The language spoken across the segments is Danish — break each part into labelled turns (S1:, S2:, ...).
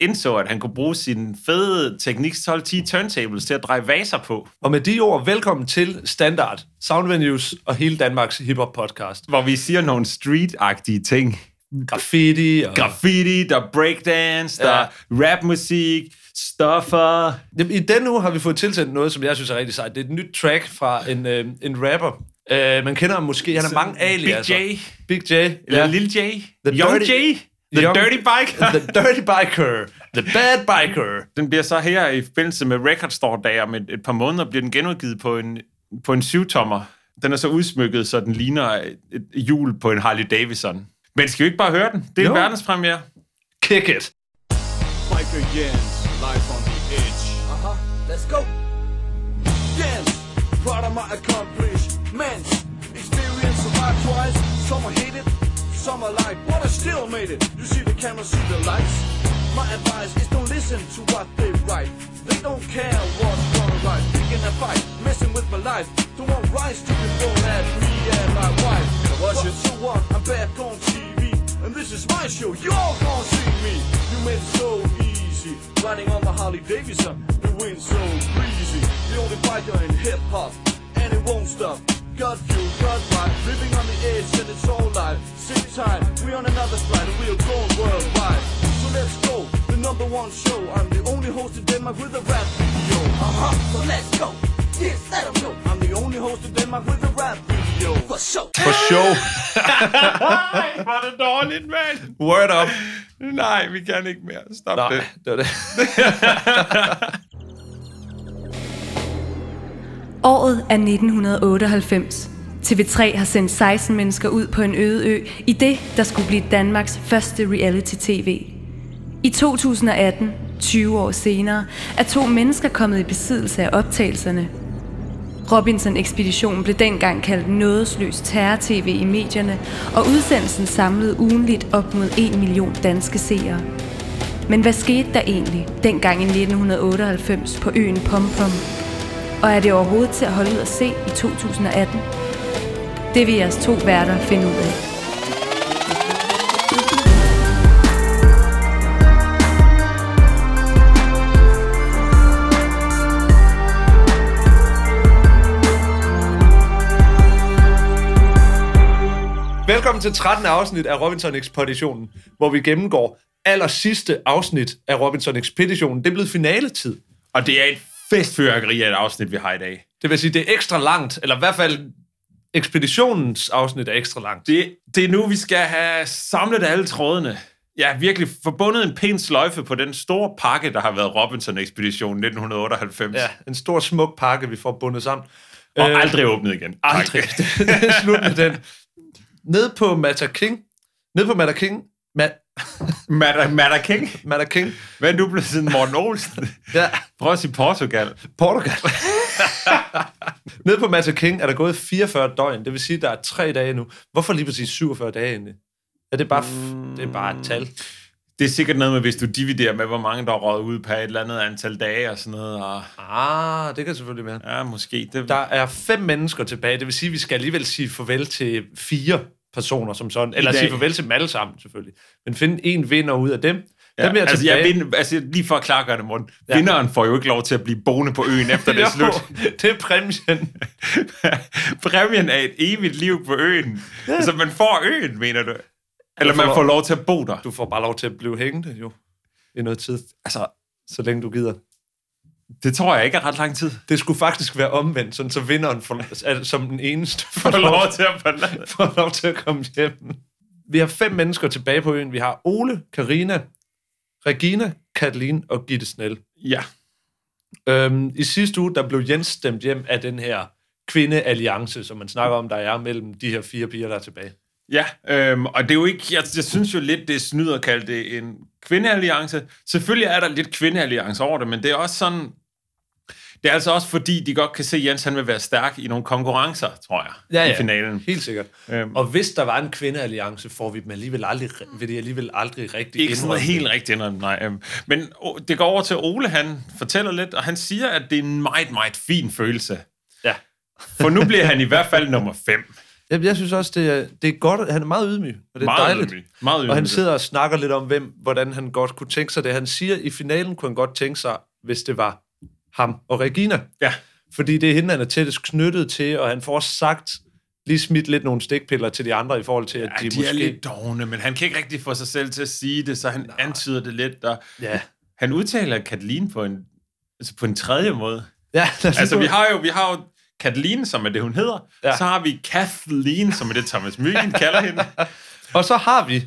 S1: indså, at han kunne bruge sin fede teknik 12-10 turntables til at dreje vaser på.
S2: Og med de ord, velkommen til Standard, Sound Venues og hele Danmarks hiphop podcast.
S1: Hvor vi siger nogle street-agtige ting.
S2: Graffiti og...
S1: Graffiti, der er breakdance, der er rapmusik, stoffer.
S2: Jamen, I denne uge har vi fået tilsendt noget, som jeg synes er rigtig sejt. Det er et nyt track fra en, øh, en rapper. Øh, man kender ham måske. Han har mange aliaser.
S1: Big J,
S2: Big J.
S1: eller
S2: ja.
S1: Lil J, Young
S2: Dirty-
S1: J, The
S2: Young-
S1: Dirty Bike.
S2: The Dirty Biker. The Bad Biker.
S1: Den bliver så her i forbindelse med Record Store Day om et, et par måneder, bliver den genudgivet på en, på en syvtommer. Den er så udsmykket, så den ligner et, et hjul på en Harley Davidson. Men skal vi ikke bare høre den? Det er
S2: Jo.
S1: jo. en verdenspremiere.
S2: Kick it.
S3: Biker Yams, life on the edge.
S4: Uh huh, let's go. Yes, proud of my accomplishments. Experience survived twice, some are hated, some are like, but I still made it. You see the camera, see the lights. My advice is don't listen to what they write. They don't care what's gonna right. Picking a fight, messing with my life. Don't want rise to be thrown at me and my wife.
S3: was
S4: But
S3: it?
S4: so what? I'm back on TV, and this is my show. You all gonna see me. You made it so easy, riding on the Harley Davidson. The wind so breezy. The only fire in hip hop, and it won't stop. Got you, got right, living on the edge, and it's all live. Sit tight, we on another stride, and we're going worldwide. So let's go, the number one show. I'm the only host in Denmark with a rap video. Uh huh, so let's go. Yes, let 'em know. I'm the only host in Denmark with a rap video. For sure.
S2: For show.
S1: Ej, var det dårligt, mand.
S2: Word up.
S1: Nej, vi kan ikke mere. Stop
S2: Nej,
S1: det.
S2: det var det.
S5: Året er 1998. TV3 har sendt 16 mennesker ud på en øde ø i det, der skulle blive Danmarks første reality-tv. I 2018, 20 år senere, er to mennesker kommet i besiddelse af optagelserne. Robinson-ekspeditionen blev dengang kaldt nådesløs terror-tv i medierne, og udsendelsen samlede ugenligt op mod 1 million danske seere. Men hvad skete der egentlig dengang i 1998 på øen Pompom? Og er det overhovedet til at holde ud at se i 2018? Det vil jeres to værter finde ud af.
S2: Velkommen til 13. afsnit af Robinson Expeditionen, hvor vi gennemgår aller sidste afsnit af Robinson Expeditionen. Det er blevet finaletid.
S1: Og det er et festfyrkeri af et afsnit, vi har i dag.
S2: Det vil sige, det er ekstra langt, eller i hvert fald ekspeditionens afsnit er ekstra langt.
S1: Det, det er nu, vi skal have samlet alle trådene. Jeg har virkelig forbundet en pæn sløjfe på den store pakke, der har været Robinson-ekspeditionen 1998.
S2: Ja, en stor smuk pakke, vi får bundet sammen.
S1: Og
S2: Øh,
S1: aldrig åbnet igen. Tak.
S2: Aldrig. det er slut med den. Ned på Matter King. Ned på Matter King. Ma-
S1: Matter, Matter King.
S2: Matter King.
S1: Hvad er du blevet siden Morten Olsen?
S2: Ja,
S1: Prøv at sige Portugal.
S2: Portugal. Ned på Matter King er der gået 44 døgn. Det vil sige, at der er tre dage nu. Hvorfor lige præcis 47 dage egentlig? Er det bare, f- det er bare et tal?
S1: Det er sikkert noget med, hvis du dividerer med, hvor mange der er røget ud per et eller andet antal dage og sådan noget. Og,
S2: Ah, det kan selvfølgelig være.
S1: ja, måske. Det,
S2: Der er fem mennesker tilbage. Det vil sige, at vi skal alligevel sige farvel til fire personer som sådan. Eller
S1: I dag.
S2: sige farvel til dem alle sammen, selvfølgelig. Men finde en vinder ud af dem.
S1: ja,
S2: dem er
S1: altså,
S2: tilbage.
S1: jeg vind, altså, lige for at klargøre det, Morten. Ja. Vinderen får jo ikke lov til at blive boende på øen, efter det er
S2: Jo,
S1: slut.
S2: Det er præmien.
S1: Præmien er et evigt liv på øen. Ja. Så man får øen, mener du? Eller man
S2: får-
S1: får lov til at bo der.
S2: Du får bare lov til at blive hængende jo i noget tid,
S1: altså,
S2: så længe du gider.
S1: det tror jeg ikke er ret lang tid.
S2: Det skulle faktisk være omvendt, sådan, så vinderen for, al- som den eneste får
S1: Får
S2: lov,
S1: lov til at forlade.
S2: får lov til at komme hjem. Vi har fem mennesker tilbage på øen. Vi har Ole, Karina, Regina, Katalin og Gitte Snell.
S1: Ja.
S2: Øhm, I sidste uge, der blev Jens stemt hjem af den her kvindealliance, som man snakker om, der er mellem de her fire piger, der er tilbage.
S1: Ja, øhm, og det er jo ikke, jeg, jeg synes jo lidt, det er snyd at kalde det en kvindealliance. Selvfølgelig er der lidt kvindealliance over det, men det er også sådan, det er altså også fordi, de godt kan se, at Jens han vil være stærk i nogle konkurrencer, tror jeg, i finalen.
S2: Helt sikkert.
S1: Øhm.
S2: Øhm. Og hvis der var en kvindealliance, får vi dem alligevel aldrig, vil de alligevel aldrig rigtig
S1: Ikke sådan noget
S2: indrømme det.
S1: helt rigtigt indrømme, nej. øhm. Men o- det går over til Ole, han fortæller lidt, og han siger, at det er en meget, meget fin følelse.
S2: Ja.
S1: For nu bliver han i hvert fald nummer fem.
S2: Jeg, jeg synes også, det er, det er godt. Han er meget ydmyg, og det er
S1: Meget
S2: dejligt.
S1: ydmyg. Meget ydmyg.
S2: Og han sidder og snakker lidt om, hvem, hvordan han godt kunne tænke sig det. Han siger, at i finalen kunne han godt tænke sig, hvis det var ham og Regina.
S1: Ja.
S2: Fordi det er hende, han er tættest knyttet til, og han får sagt lige smidt lidt nogle stikpiller til de andre i forhold til, at
S1: Ja, de, de
S2: måske...
S1: er lidt dogne, men han kan ikke rigtig få sig selv til at sige det, så han Nej. antyder det lidt. Og
S2: Ja,
S1: han udtaler Katalin på en, altså på en tredje måde.
S2: ja
S1: Altså, vi har jo, vi har jo Katalin, som er det, hun hedder.
S2: Ja.
S1: Ja. Så har vi Kathleen, som er det, Thomas Mygind kalder hende.
S2: Og så har vi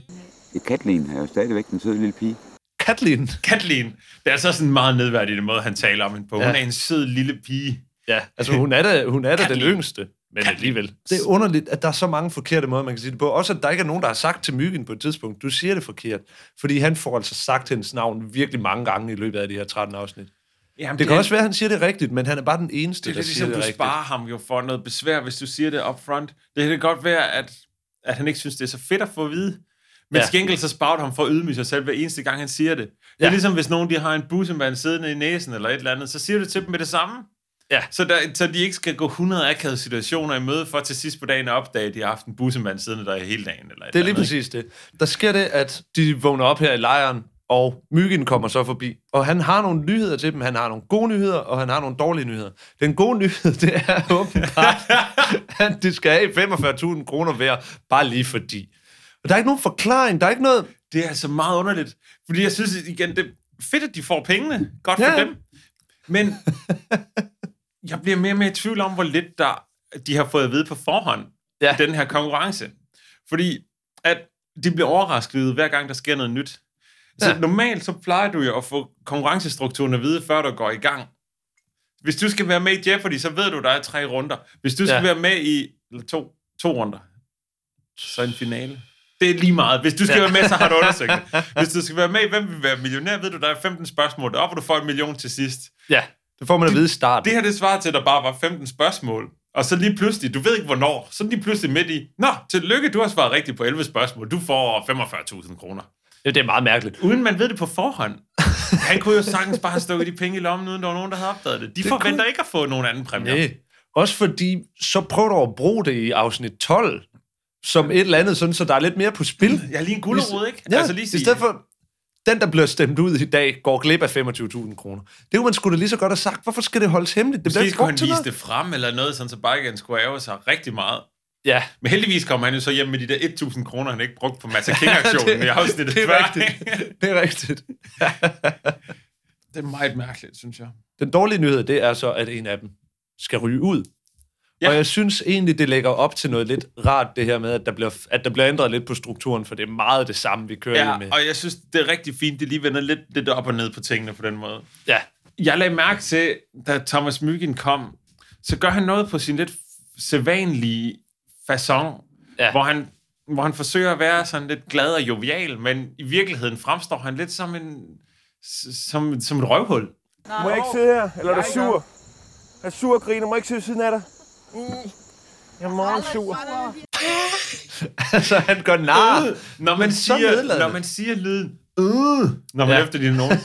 S6: Katlin er jo stadigvæk den søde lille pige.
S2: Katlin.
S1: Kathleen. Det er altså sådan en meget nedværdigende måde, han taler om hende på. Hun
S2: Ja.
S1: er en sød lille pige.
S2: Ja, altså hun er da, hun er da den
S1: Katlin.
S2: yngste. Men
S1: alligevel.
S2: Det er underligt, at der er så mange forkerte måder, man kan sige det på. Også at der ikke er nogen, der har sagt til Myggen på et tidspunkt, du siger det forkert. Fordi han får altså sagt hendes navn virkelig mange gange i løbet af de her 13 afsnit.
S1: Jamen,
S2: Det kan også være, at han siger det rigtigt, men han er bare den eneste,
S1: det er
S2: der
S1: lidt
S2: siger
S1: ligesom,
S2: det
S1: du
S2: rigtigt.
S1: sparer ham jo for noget besvær, hvis du siger det up front. Det kan godt være, at, at han ikke synes, det er så fedt at få at vide. Men
S2: Ja.
S1: ja. til gengæld så sparer du ham for at ydmyge sig selv hver eneste gang, han siger det. Det er
S2: Ja.
S1: ja. ligesom, hvis nogen de har en bussemand siddende i næsen eller et eller andet, så siger du til dem med det samme.
S2: Ja.
S1: Så, der, så de ikke skal gå 100 akavede situationer i møde for til sidst på dagen at opdage, at de har haft en bussemand siddende der hele dagen. Eller et eller
S2: Det er lige
S1: andet, ikke?
S2: præcis det. Der sker det, at de vågner op her i lejren, og Myggen kommer så forbi. Og han har nogle nyheder til dem. Han har nogle gode nyheder, og han har nogle dårlige nyheder. Den gode nyhed, det er åbenbart, at de skal have 45.000 kroner hver, bare lige fordi. Og der er ikke nogen forklaring. Der er ikke noget...
S1: Det er altså meget underligt. Fordi jeg synes igen, det er fedt, at de får pengene. Godt
S2: Ja.
S1: for dem. Men jeg bliver mere og mere i tvivl om, hvor lidt der, de har fået at vide på forhånd
S2: Ja.
S1: ja. i den her konkurrence. Fordi at de bliver overrasket hver gang, der sker noget nyt. Så
S2: Ja.
S1: ja. normalt så plejer du jo at få konkurrencestrukturen at vide, før du går i gang. Hvis du skal være med i Jeopardy, så ved du, der er tre runder. Hvis du skal
S2: Ja.
S1: være med i eller to, to runder, så en finale. Det er lige meget. Hvis du skal
S2: Ja.
S1: ja. være med, så har du undersøgt det. Hvis du skal være med i Hvem vil være millionær, ved du, der er 15 spørgsmål deroppe, og du får en million til sidst.
S2: Ja, det får man at vide i starten.
S1: Det her, det svarer til, at der bare var 15 spørgsmål. Og så lige pludselig, du ved ikke hvornår, så lige pludselig midt i, Nå, tillykke, du har svaret rigtigt på 11 spørgsmål. Du får 45.000 kroner.
S2: Det, det er meget mærkeligt.
S1: Uden man ved det på forhånd. Han kunne jo sagtens bare have stukket de penge i lommen, uden der var nogen, der havde opdaget det. De det forventer kunne... ikke at få nogen anden præmie.
S2: Nej. Også fordi, så prøv dog at bruge det i afsnit 12, som et eller andet, sådan, så der er lidt mere på spil.
S1: Jeg er lige en gulerod, ikke?
S2: Ja,
S1: altså lige
S2: i
S1: sige,
S2: stedet for, den, der bliver stemt ud i dag, går glip af 25.000 kroner. Det kunne man skulle da lige så godt have sagt. Hvorfor skal det holdes hemmeligt? Det bliver
S1: måske
S2: ikke
S1: skulle
S2: brugt
S1: han
S2: til
S1: vise
S2: noget.
S1: det frem eller noget, sådan så Biden skulle ærge sig rigtig meget.
S2: Ja,
S1: Men heldigvis kom han jo så hjem med de der 1.000 kroner, han ikke brugte på Massa
S2: Ja,
S1: King-aktionen
S2: det-
S1: i afsnittet.
S2: det er
S1: før.
S2: rigtigt. Det er rigtigt.
S1: det er meget mærkeligt, synes jeg.
S2: Den dårlige nyhed, det er så, at en af dem skal ryge ud. Ja.
S1: Ja.
S2: Og jeg synes egentlig, det lægger op til noget lidt rart, det her med, at der bliver, at der bliver ændret lidt på strukturen, for det er meget det samme, vi kører ja,
S1: Ja,
S2: med.
S1: og jeg synes, det er rigtig fint, det lige vender lidt, lidt op og ned på tingene på den måde.
S2: Ja,
S1: Jeg lagde mærke til, da Thomas Mygind kom, så gør han noget på sin lidt sædvanlige façon,
S2: Ja.
S1: ja. hvor, han, hvor han forsøger at være sådan lidt glad og jovial, men i virkeligheden fremstår han lidt som en s- som, som et røvhul.
S7: Må jeg ikke sidde her? Eller er du sur? Er du sur og griner? Må jeg ikke sidde ved siden af dig? Mm. Jeg er meget sur.
S2: altså han gør nar.
S1: Øh, når man,
S2: så
S1: siger,
S2: nedladende.
S1: når man siger lyden, øh, når man
S2: Ja.
S1: ja. efter din nogen,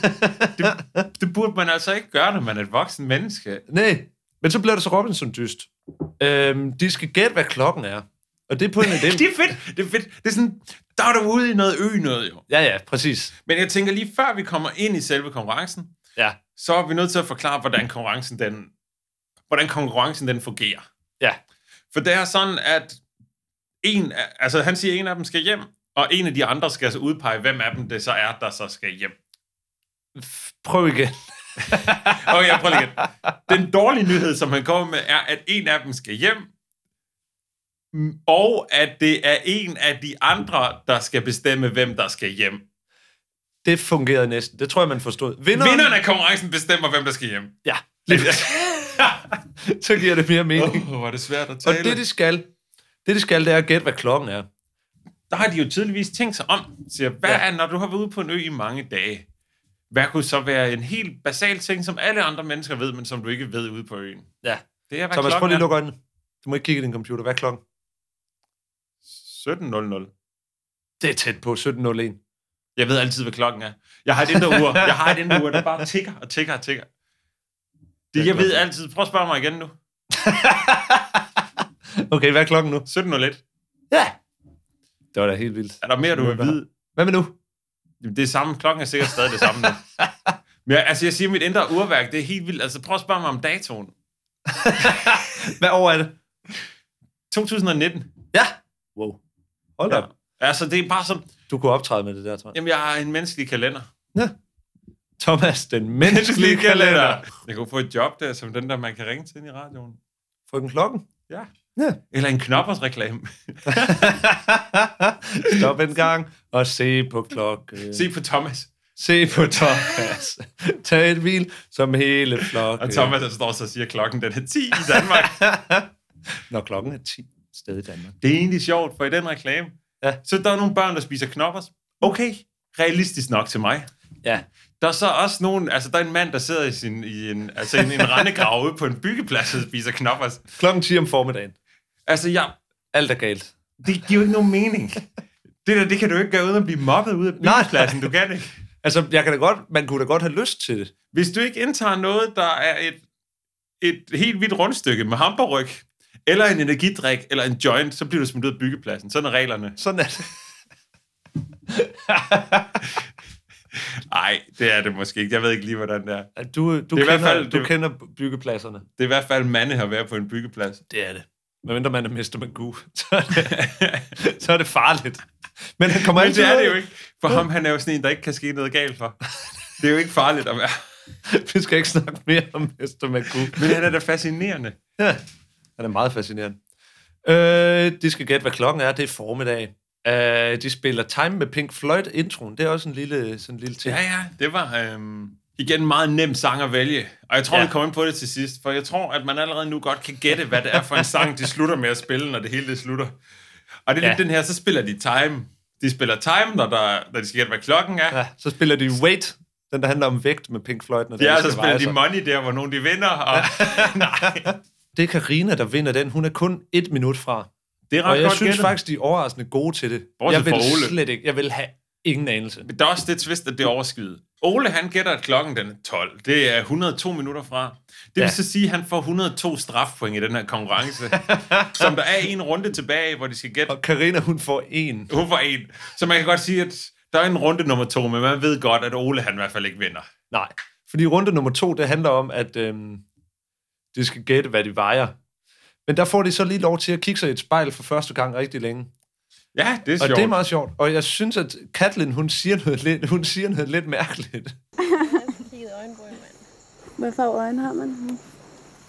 S1: det, det burde man altså ikke gøre, når man er et voksen menneske.
S2: Nej, men så bliver det så Robinson dyst. Øhm, de skal gætte, hvad klokken er. Og det er på en af dem.
S1: Det er fedt, det er fedt. Det er sådan, der er du ude i noget ø noget jo.
S2: Ja, ja, præcis.
S1: Men jeg tænker lige før vi kommer ind i selve konkurrencen,
S2: Ja,
S1: så er vi nødt til at forklare, hvordan konkurrencen den, hvordan konkurrencen den fungerer.
S2: ja.
S1: For det er sådan, at en, af- altså han siger, at en af dem skal hjem, og en af de andre skal så udpege, hvem af dem det så er, der så skal hjem.
S2: Prøv igen.
S1: Okay, jeg prøver lige igen. Den dårlige nyhed, som han kommer med, er, at en af dem skal hjem, mm, og at det er en af de andre, der skal bestemme, hvem der skal hjem.
S2: Det fungerede næsten. Det tror jeg, man forstod. Vinderen,
S1: Vinderen af konkurrencen bestemmer, hvem der skal hjem.
S2: Ja, lige præcis. Så giver det mere mening.
S1: Åh, oh, hvor er det svært at
S2: Og
S1: tale.
S2: det, de skal, det de skal, det er at gætte, hvad klokken er.
S1: der har de jo tydeligvis tænkt sig om. Siger, hvad
S2: Ja.
S1: ja. er, når du har været ude på en ø i mange dage, hvad kunne så være en helt basal ting, som alle andre mennesker ved, men som du ikke ved ude på øen?
S2: Ja.
S1: Det er, hvad
S2: Thomas, prøv
S1: klokken
S2: lige at
S1: er.
S2: lukke øjnene. Du må ikke kigge i din computer. Hvad er klokken?
S1: 17.00.
S2: Det er tæt på 17.01.
S1: Jeg ved altid, hvad klokken er. Jeg har et indre ur. Jeg har et indre ur, der bare tikker og tikker og tikker. Det, jeg ved altid. Prøv at spørge mig igen nu.
S2: Okay, hvad er klokken nu?
S1: 17.01.
S2: Ja. Det var da helt vildt.
S1: Er der mere, du vil vide?
S2: Hvad med nu?
S1: Jamen, Det er samme. Klokken er sikkert stadig det samme nu. Men jeg, altså, jeg siger, mit indre urværk, det er helt vildt. Altså, prøv at spørge mig om datoen.
S2: Hvad år er det?
S1: 2019.
S2: Ja. Wow. Hold da.
S1: Ja.
S2: Ja.
S1: Altså, det er bare sådan...
S2: Du kunne optræde med det der, tror jeg.
S1: Jamen, jeg har en menneskelig kalender.
S2: Thomas, den menneskelige kalender.
S1: Jeg kunne få et job der, som den der, man kan ringe til ind i radioen.
S2: Frøken klokken.
S1: Ja.
S2: Ja.
S1: Eller en knoppersreklame.
S2: Stop en gang og se på klokken.
S1: Se på Thomas.
S2: se på Thomas. Tag et hvil som hele flokken.
S1: Og Thomas, der står så og siger, at klokken den er 10 i Danmark.
S2: Når klokken er 10 sted i Danmark.
S1: det er egentlig sjovt, for i den reklame,
S2: Ja.
S1: så der er nogle børn, der spiser knoppers. Okay, realistisk nok til mig.
S2: Ja.
S1: Der er så også nogen, altså der er en mand, der sidder i, sin, i en, altså i en, en rendegrav ude på en byggeplads og spiser knoppers.
S2: Klokken 10 om formiddagen.
S1: Altså, jeg,
S2: Alt er galt.
S1: det giver jo ikke nogen mening. Det der, det kan du ikke gøre uden at blive mobbet ude af
S2: Nej.
S1: byggepladsen. Du kan det ikke.
S2: Altså, jeg kan da godt, man kunne da godt have lyst til det.
S1: Hvis du ikke indtager noget, der er et, et helt hvidt rundstykke med hamperryg, eller en energidrik, eller en joint, så bliver du smidt ud af byggepladsen. Sådan er reglerne.
S2: Sådan er det.
S1: Nej, det er det måske ikke. Jeg ved ikke lige, hvordan det er.
S2: Du, øh, du,
S1: i
S2: kender,
S1: hvert fald-
S2: du
S1: det-
S2: kender byggepladserne.
S1: Det er i hvert fald mande at være på en byggeplads.
S2: Det er det. Hvad mindre man er Mr. Magoo, så er det, så er det farligt. Men han kommer
S1: Men
S2: altid
S1: det er
S2: ud-
S1: det jo ikke. For ham, han er jo sådan en, der ikke kan ske noget galt for. Det er jo ikke farligt at være.
S2: Vi skal ikke snakke mere om Mr. Magoo.
S1: Men han er da fascinerende.
S2: Ja, han er meget fascinerende. Øh, de skal gætte, hvad klokken er. Det er formiddag. Øh, de spiller Time med Pink Floyd introen. Det er også en lille, sådan en lille ting.
S1: Ja, ja. Det var øhm, igen en meget nem sang at vælge. Og jeg tror,
S2: Ja.
S1: ja. vi kommer ind på det til sidst. For jeg tror, at man allerede nu godt kan gætte, hvad det er for en sang, de slutter med at spille, når det hele det slutter. Og det er ja.
S2: Ja.
S1: lidt den her, så spiller de time. De spiller time, når, der, når de skal gætte, hvad klokken er.
S2: Ja, så spiller de Wait, den der handler om vægt med Pink Floyd. Når den
S1: Ja,
S2: skal
S1: så spiller
S2: veje
S1: de
S2: sig.
S1: money der, hvor nogen de vinder. Og... Nej,
S2: Det er Karina der vinder den. Hun er kun et minut fra.
S1: det er ret
S2: Og jeg
S1: godt
S2: synes
S1: gættet.
S2: faktisk, de er overraskende gode til det.
S1: Bortset
S2: jeg vil
S1: fra Ole.
S2: slet ikke. Jeg vil have ingen anelse.
S1: Men Der er også det twist, at det er overskyet. Ole, han gætter, at klokken den er 12. Det er 102 minutter fra. Det vil
S2: Ja.
S1: ja. så sige, at han får 102 strafpoint i den her konkurrence, som der er en runde tilbage, hvor de skal gætte.
S2: Og Karina hun får en.
S1: Hun får en. Så man kan godt sige, at der er en runde nummer to, men man ved godt, at Ole han i hvert fald ikke vinder.
S2: Nej. Fordi runde nummer to, det handler om, at øhm, de skal gætte, hvad de vejer. Men der får de så lige lov til at kigge sig i et spejl for første gang rigtig længe.
S1: Ja, det er
S2: Og
S1: sjovt.
S2: det er meget sjovt. Og jeg synes, at Katlin, hun siger noget lidt, hun siger noget lidt mærkeligt.
S8: Hvad for øjne har man?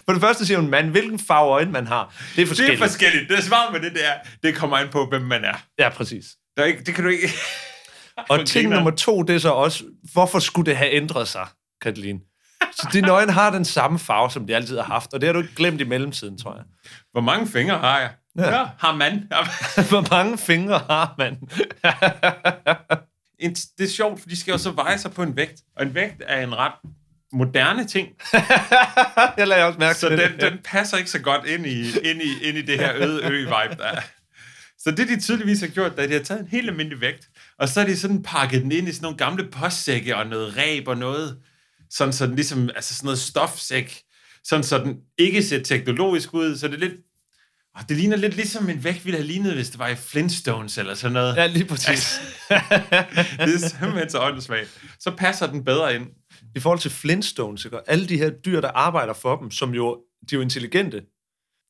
S2: For det første siger hun, mand, hvilken farve øjne man har. Det er
S1: det er
S2: forskelligt.
S1: forskelligt. Det er svaret med det der. Det kommer an på, hvem man er.
S2: ja, præcis.
S1: Der er ikke, det kan du ikke...
S2: Og
S1: Hvor
S2: ting
S1: griner
S2: nummer to, det er så også, hvorfor skulle det have ændret sig, Katalin? Så dine øjne har den samme farve, som de altid har haft, og det har du ikke glemt i mellemtiden, tror jeg.
S1: Hvor mange fingre har jeg? Ja. ja har man.
S2: Hvor mange fingre har man?
S1: en, det er sjovt, for de skal jo så veje sig på en vægt. Og en vægt er en ret moderne ting,
S2: jeg lader også mærke
S1: så
S2: til
S1: den,
S2: det.
S1: den passer ikke så godt ind i, ind i, ind i det her øde ø-vibe, der er. Så det, de tydeligvis har gjort, det er, at de har taget en helt almindelig vægt, og så har de sådan pakket den ind i sådan nogle gamle postsække og noget ræb og noget, sådan sådan ligesom, altså sådan noget stofsæk, sådan så den ikke ser teknologisk ud, så det er lidt, og det ligner lidt ligesom en vægt ville have lignet, hvis det var i Flintstones eller sådan noget.
S2: Ja, lige præcis.
S1: Det er simpelthen så åndssvagt. Så passer den bedre ind.
S2: I forhold til Flintstones, ikke? og alle de her dyr, der arbejder for dem, som jo, de er jo intelligente,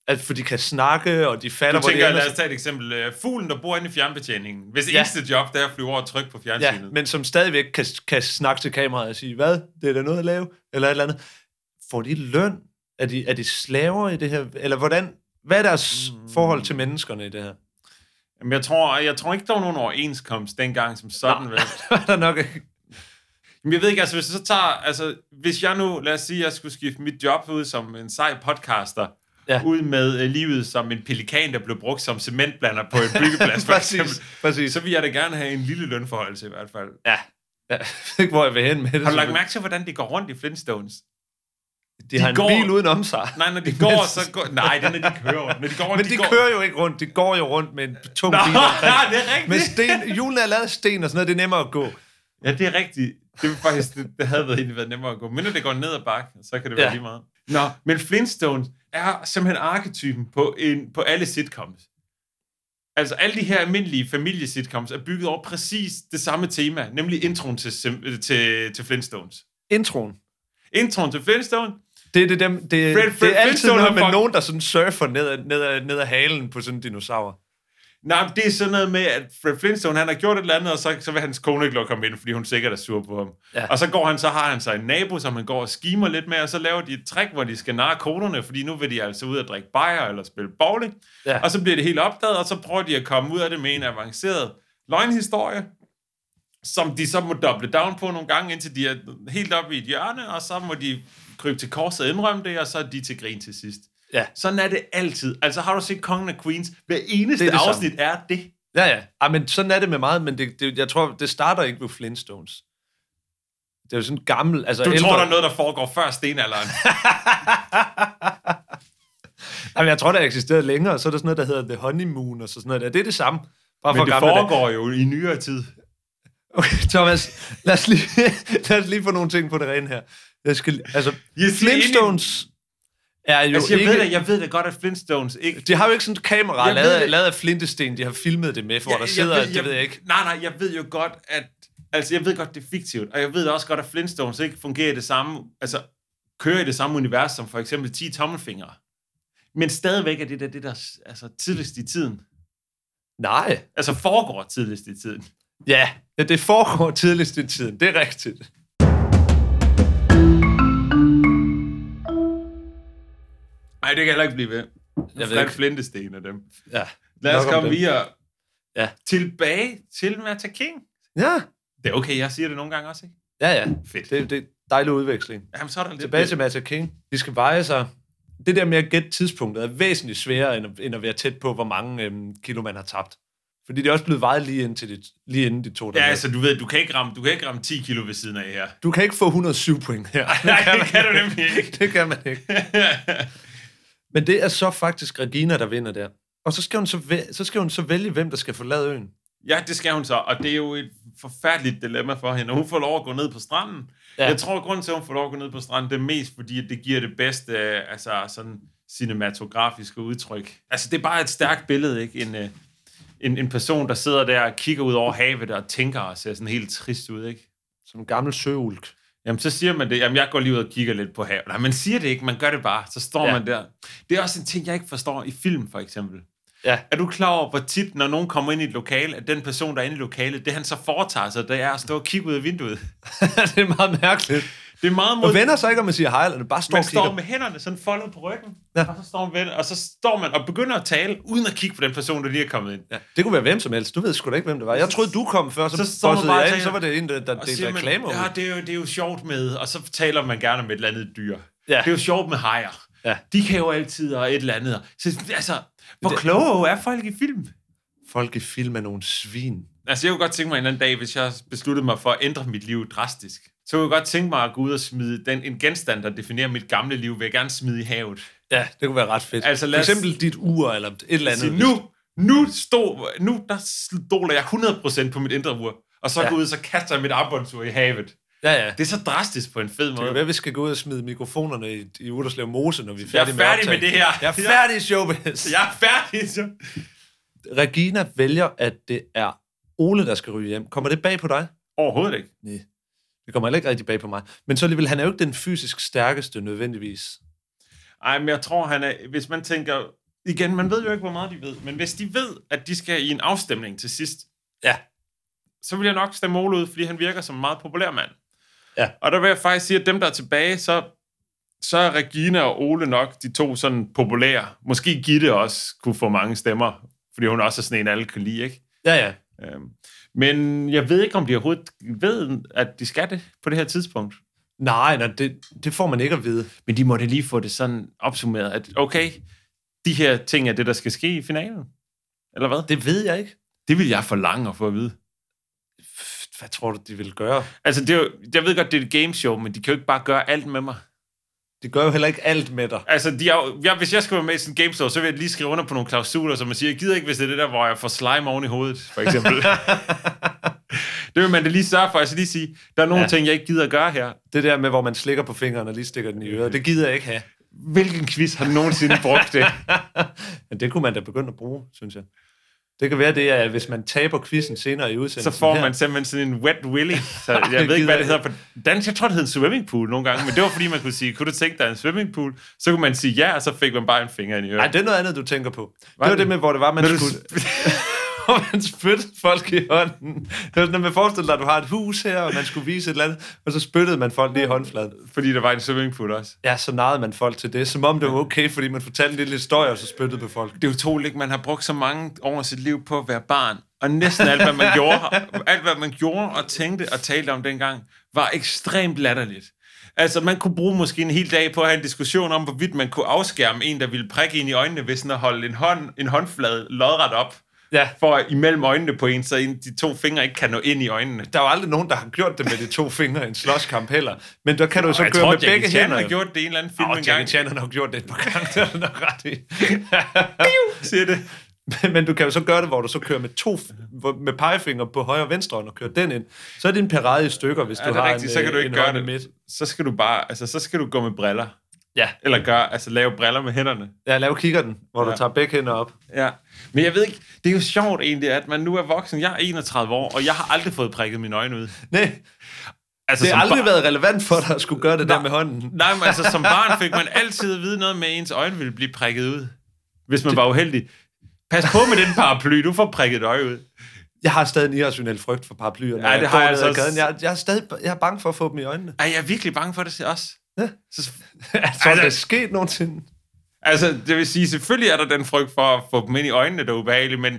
S2: at, for de kan snakke, og de fatter,
S1: Du
S2: hvor
S1: tænker,
S2: det
S1: lad os
S2: ender.
S1: tage et eksempel. Øh, Fuglen, der bor inde i fjernbetjeningen. Hvis
S2: Ja.
S1: ja. eneste job, det er at flyve over og trykke på
S2: Ja,
S1: fjernsynet. Ja, men...
S2: men som stadigvæk kan, kan snakke til kameraet og sige, hvad, det er da noget at lave, eller et eller andet. Får de løn? Er de, er de slaver i det her? Eller hvordan, hvad er deres mm. forhold til menneskerne i det her?
S1: Jamen, jeg, tror, jeg tror ikke, der var nogen overenskomst dengang som sådan. Vel?
S2: Er der nok ikke?
S1: Men jeg ved ikke, altså hvis jeg så tager... Altså, hvis jeg nu, lad os sige, jeg skulle skifte mit job ud som en sej podcaster,
S2: Ja.
S1: ja. ud med øh, livet som en pelikan, der blev brugt som cementblander på en byggeplads, for eksempel,
S2: præcis.
S1: så vil jeg da gerne have en lille lønforholdelse i hvert fald.
S2: Ja. ja. Jeg ved ikke, hvor jeg vil hen med det.
S1: Har du lagt mærke til, hvordan det går rundt i Flintstones?
S2: De, de har en
S1: går-
S2: bil udenom sig.
S1: Nej, når de går, så går... Nej, det er, når de kører. Når de går rundt,
S2: Men de,
S1: går...
S2: kører jo ikke rundt. De går jo rundt med en tung bil.
S1: Nej, det er
S2: Med
S1: rigtigt.
S2: sten, hjulene er lavet af sten og sådan noget, det er nemmere at gå.
S1: Ja, det er rigtigt. Det, vil faktisk, det, det havde været, egentlig været nemmere at gå. Men når det går ned ad bakken, så kan det være
S2: Ja.
S1: lige meget. Nå, men Flintstones er simpelthen arketypen på, en, på alle sitcoms. Altså alle de her almindelige familiesitcoms er bygget over præcis det samme tema, nemlig introen til, sim- til, til Flintstones.
S2: Introen.
S1: Introen til Flintstone,
S2: Det er, det, dem, det, Fred,
S1: Fred
S2: Fred, det er altid
S1: Flintstone har
S2: noget med
S1: fuck-
S2: nogen, der sådan surfer ned ad, ned, ad, ned ad halen på sådan en dinosaur.
S1: nej, men det er sådan noget med, at Fred Flintstone, han har gjort et eller andet, og så, så vil hans kone ikke lukke ham ind, fordi hun sikkert er sur på ham.
S2: Ja.
S1: Og så går han, så har han sig en nabo, som han går og skimer lidt med, og så laver de et trick, hvor de skal narre konerne, fordi nu vil de altså ud og drikke bajer eller spille bowling.
S2: Ja.
S1: Og så bliver det helt opdaget, og så prøver de at komme ud af det med en avanceret løgnhistorie, som de så må doble down på nogle gange, indtil de er helt oppe i et hjørne, og så må de krybe til korset og indrømme det, og så er de til grin til sidst.
S2: Ja.
S1: Sådan er det altid. Altså har du set Kongen af Queens, hver eneste
S2: Det
S1: det
S2: er det
S1: det afsnit er det.
S2: Ja, ja. Ej, men sådan er det med meget, men det, det, jeg tror, det starter ikke ved Flintstones. Det er jo sådan gammel... Altså
S1: Du
S2: ældre,
S1: tror, der er noget, der foregår før stenalderen.
S2: Jamen, jeg tror, der eksisterede længere, og så er der sådan noget, der hedder The Honeymoon, og så sådan noget der. Det er det samme. Bare
S1: Men
S2: for
S1: det
S2: gamle dage.
S1: foregår jo i nyere tid.
S2: Okay, Thomas, lad os, lige, lad os lige få nogle ting på det rene her. Jeg skal, altså,
S1: Jeg siger
S2: Flintstones er jo
S1: Altså, jeg,
S2: ikke...
S1: ved da, jeg ved da godt, at Flintstones ikke...
S2: De har jo ikke sådan et kamera
S1: Jeg ved
S2: lavet,
S1: det.
S2: lavet af flintesten, de har filmet det med, for ja, der sidder, jeg, det ved jeg ikke.
S1: Nej, nej, jeg ved jo godt, at... Altså, jeg ved godt, det er fiktivt, og jeg ved også godt, at Flintstones ikke fungerer i det samme... Altså, kører i det samme univers som for eksempel 10 tommelfingre. Men stadigvæk er det der, det der altså, tidligst i tiden.
S2: Nej.
S1: Altså, foregår tidligst i tiden.
S2: Ja, ja, det foregår tidligst i tiden, det er rigtigt.
S1: Nej, det kan heller ikke blive ved.
S2: ved
S1: Jeg ved ikke.
S2: ikke.
S1: Flintesten af dem.
S2: Ja.
S1: Lad os
S2: Nok om
S1: komme
S2: det.
S1: videre.
S2: Ja.
S1: Tilbage til Mata King.
S2: Ja,
S1: Det er okay, jeg siger det nogle gange også, ikke?
S2: ja, ja.
S1: Fedt.
S2: Det, det er dejlig udveksling.
S1: Jamen, så er der lidt...
S2: Tilbage til Matter King. De skal veje sig. Det der med at gætte tidspunktet er væsentligt sværere, end at, end at være tæt på, hvor mange øhm, kilo man har tabt. Fordi det er også blevet vejet lige, indtil de, lige inden de to
S1: Ja,
S2: dage.
S1: altså, du ved, du kan ikke ramme, du kan ikke ramme 10 kilo ved siden af her.
S2: Du kan ikke få 107 point her.
S1: Nej,
S2: man
S1: det kan du
S2: ikke.
S1: nemlig ikke.
S2: det kan man ikke. Men det er så faktisk Regina, der vinder der. Og så skal hun så, væ- så, skal hun så vælge, hvem der skal forlade øen.
S1: ja, det skal hun så, og det er jo et forfærdeligt dilemma for hende. Hun får lov at gå ned på stranden. Ja.
S2: Ja.
S1: Jeg tror, at grunden til, at hun får lov at gå ned på stranden, det er mest, fordi at det giver det bedste øh, altså, sådan cinematografiske udtryk. Altså, det er bare et stærkt billede, ikke? En, øh, en, en person, der sidder der og kigger ud over havet og tænker og ser sådan helt trist ud, ikke?
S2: Som en gammel søulk.
S1: Jamen, så siger man det. Jamen, jeg går lige ud og kigger lidt på havet. Nej, man siger det ikke. Man gør det bare. Så står ja.
S2: Ja.
S1: man der. Det er også en ting, jeg ikke forstår i film, for eksempel.
S2: Ja.
S1: Er du klar over, hvor tit, når nogen kommer ind i et lokale, at den person, der er inde i lokalet, det han så foretager sig, det er at stå og kigge ud af vinduet.
S2: det er meget mærkeligt.
S1: Det er meget
S2: Du
S1: mod...
S2: vender sig ikke, om man siger hej, eller bare står
S1: Man
S2: og
S1: står
S2: kigger.
S1: med hænderne sådan foldet på ryggen,
S2: Ja.
S1: ja. og, så står man, ved- og så står man og begynder at tale, uden at kigge på den person, der lige er kommet ind.
S2: Ja, det kunne være hvem som helst. Du ved sgu da ikke, hvem det var. Jeg troede, du kom før, så,
S1: Så
S2: så,
S1: står man
S2: så,
S1: bare og
S2: jeg ind,
S1: tænker-
S2: så var det en, der, der
S1: Og
S2: delte
S1: siger man,
S2: reklamer ud.
S1: ja, det er, jo, det er jo sjovt med, og så taler man gerne om et eller andet dyr.
S2: Ja.
S1: Det er jo sjovt med hajer.
S2: Ja.
S1: De kan jo altid og et eller andet. Så, altså, hvor
S2: Det-
S1: kloge er folk i film?
S2: Folk i film er nogle svin.
S1: Altså, jeg kunne godt tænke mig en eller anden dag, hvis jeg besluttede mig for at ændre mit liv drastisk. Så kunne jeg godt tænke mig at gå ud og smide den, en genstand, der definerer mit gamle liv, vil jeg gerne smide i havet.
S2: Ja, det kunne være ret fedt.
S1: Altså,
S2: Altså,
S1: lad
S2: For
S1: os-
S2: eksempel dit ur eller et eller andet.
S1: Sige, nu, nu, stod, nu der stoler jeg 100% på mit indre ur, og så ja.
S2: Ja.
S1: gå ud og så kaster jeg mit armbåndsur i havet.
S2: Ja, ja.
S1: Det er så drastisk på en fed
S2: Det
S1: måde.
S2: kan være, vi skal gå ud og smide mikrofonerne i, i Uderslev Mose, når vi er
S1: jeg er
S2: færdige,
S1: færdig med,
S2: optagelsen.
S1: det her.
S2: Jeg er færdig i showbiz.
S1: Jeg er færdig. Så.
S2: Regina vælger, at det er Ole, der skal ryge hjem. Kommer det bag på dig?
S1: Overhovedet ikke.
S2: Det kommer heller ikke rigtig bag på mig. Men så alligevel, han er jo ikke den fysisk stærkeste nødvendigvis.
S1: Ej, men jeg tror, han er, hvis man tænker... Igen, man ved jo ikke, hvor meget de ved. Men hvis de ved, at de skal i en afstemning til sidst,
S2: Ja.
S1: så vil jeg nok stemme Ole ud, fordi han virker som en meget populær mand.
S2: Ja.
S1: Og der vil jeg faktisk sige, at dem, der er tilbage, så, så er Regina og Ole nok de to sådan populære. Måske Gitte også kunne få mange stemmer, fordi hun også er sådan en, alle kan lide, ikke?
S2: Ja, ja.
S1: Øhm, Men jeg ved ikke, om de overhovedet ved, at de skal det på det her tidspunkt.
S2: Nej, nej det, det får man ikke at vide.
S1: Men de måtte lige få det sådan opsummeret, at okay, de her ting er det, der skal ske i finalen. Eller hvad? Det,
S2: Det ved jeg ikke.
S1: det vil jeg forlange at få at vide.
S2: Pff, Hvad tror du, de vil gøre?
S1: Altså, det er jo, jeg ved godt, det er et gameshow, men de kan jo ikke bare gøre alt med mig.
S2: De gør jo heller ikke alt med dig.
S1: Altså, de er, jo- jeg, hvis jeg skal være med i sådan en gameshow, så vil jeg lige skrive under på nogle klausuler, som man siger, jeg gider ikke, hvis det er det der, hvor jeg får slime oven i hovedet, for eksempel. det vil man da lige sørge for. Altså lige sige, der er nogle ja.
S2: Ja.
S1: ting, jeg ikke gider at gøre her.
S2: Det der med, hvor man slikker på fingeren og lige stikker den i øret, det gider jeg ikke have.
S1: Hvilken quiz har nogensinde brugt det?
S2: Men det kunne man da begynde at bruge, synes jeg. Det kan være, det er, at hvis man taber quizzen senere i
S1: Så
S2: udsendelsen
S1: får
S2: her,
S1: man simpelthen sådan en wet willy. Så jeg
S2: det
S1: ved ikke, hvad det
S2: gider
S1: hedder på dansk. Jeg tror, det hedder en swimmingpool nogle gange, men det var fordi, man kunne sige, kunne du tænke dig en swimmingpool? Så kunne man sige ja, og så fik man bare en finger ind i øret.
S2: Ej, det er noget andet, du tænker på.
S1: Var
S2: det var
S1: det?
S2: det med, hvor det var, man
S1: Når du
S2: skulle... hvor man spyttede folk i hånden. Det var sådan, at man forestillede sig, at du har et hus her, og man skulle vise et eller andet, og så spyttede man folk lige i håndfladen.
S1: Fordi der var en swimmingpool også.
S2: Ja, så narrede man folk til det, som om det var okay, fordi man fortalte en lille historie, og så spyttede på folk.
S1: Det er utroligt, ikke? man har brugt så mange år af sit liv på at være barn, og næsten alt, hvad man gjorde, alt, hvad man gjorde og tænkte og talte om dengang, var ekstremt latterligt. Altså, man kunne bruge måske en hel dag på at have en diskussion om, hvorvidt man kunne afskærme en, der ville prikke ind i øjnene, ved sådan at holde en, hånd, en håndflade lodret op,
S2: Ja.
S1: for at imellem øjnene på en, så en, de to fingre ikke kan nå ind i øjnene.
S2: Der er jo aldrig nogen, der har gjort det med de to fingre i en slåskamp heller. Men der kan du jo så
S1: jeg
S2: køre
S1: tror,
S2: med
S1: Jackie
S2: begge
S1: Chan
S2: hænder.
S1: har gjort det i en eller anden film
S2: Åh,
S1: oh,
S2: Jackie
S1: engang.
S2: Chan han har jo gjort det et par gange, det er du nok ret i.
S1: Siger det.
S2: Men- Men du kan jo så gøre det, hvor du så kører med to f- hvor- med pegefinger på højre og venstre hånd og kører den ind. Så er det en parade i stykker, hvis
S1: Ja,
S2: du
S1: det er
S2: har
S1: rigtigt,
S2: en,
S1: så kan
S2: øh,
S1: du ikke
S2: en
S1: gøre
S2: hånd i
S1: det.
S2: midt.
S1: Så skal du bare, altså, så skal du gå med briller.
S2: Ja.
S1: Eller gøre, altså lave briller med hænderne.
S2: Ja, lav kigger den, hvor ja.
S1: Ja.
S2: du tager begge hænder op.
S1: Ja, men jeg ved ikke, det er jo sjovt egentlig, at man nu er voksen. Jeg er 31 år, og jeg har aldrig fået prikket mine øjne ud.
S2: Nej,
S1: Altså,
S2: det
S1: som
S2: har aldrig
S1: bar-
S2: været relevant for dig at skulle gøre det der med hånden.
S1: Nej, men altså, som barn fik man altid at vide noget med, at ens øjne ville blive prikket ud, hvis man var uheldig. Pas på med den paraply, du får prikket et øje ud.
S2: Jeg har stadig en irrationel frygt for paraplyer, når
S1: Ja,
S2: ja,
S1: det
S2: jeg
S1: har
S2: går
S1: jeg
S2: ned
S1: altså
S2: ad gaden.
S1: også.
S2: Jeg, jeg, er stadig jeg er bange for at få dem i øjnene.
S1: Ej, jeg er virkelig bange for det også.
S2: Ja.
S1: Så,
S2: Altså,
S1: Altså-
S2: altså, det er sket nogensinde.
S1: altså, det vil sige, selvfølgelig er der den frygt for at få dem ind i øjnene, der er ubehagelig, men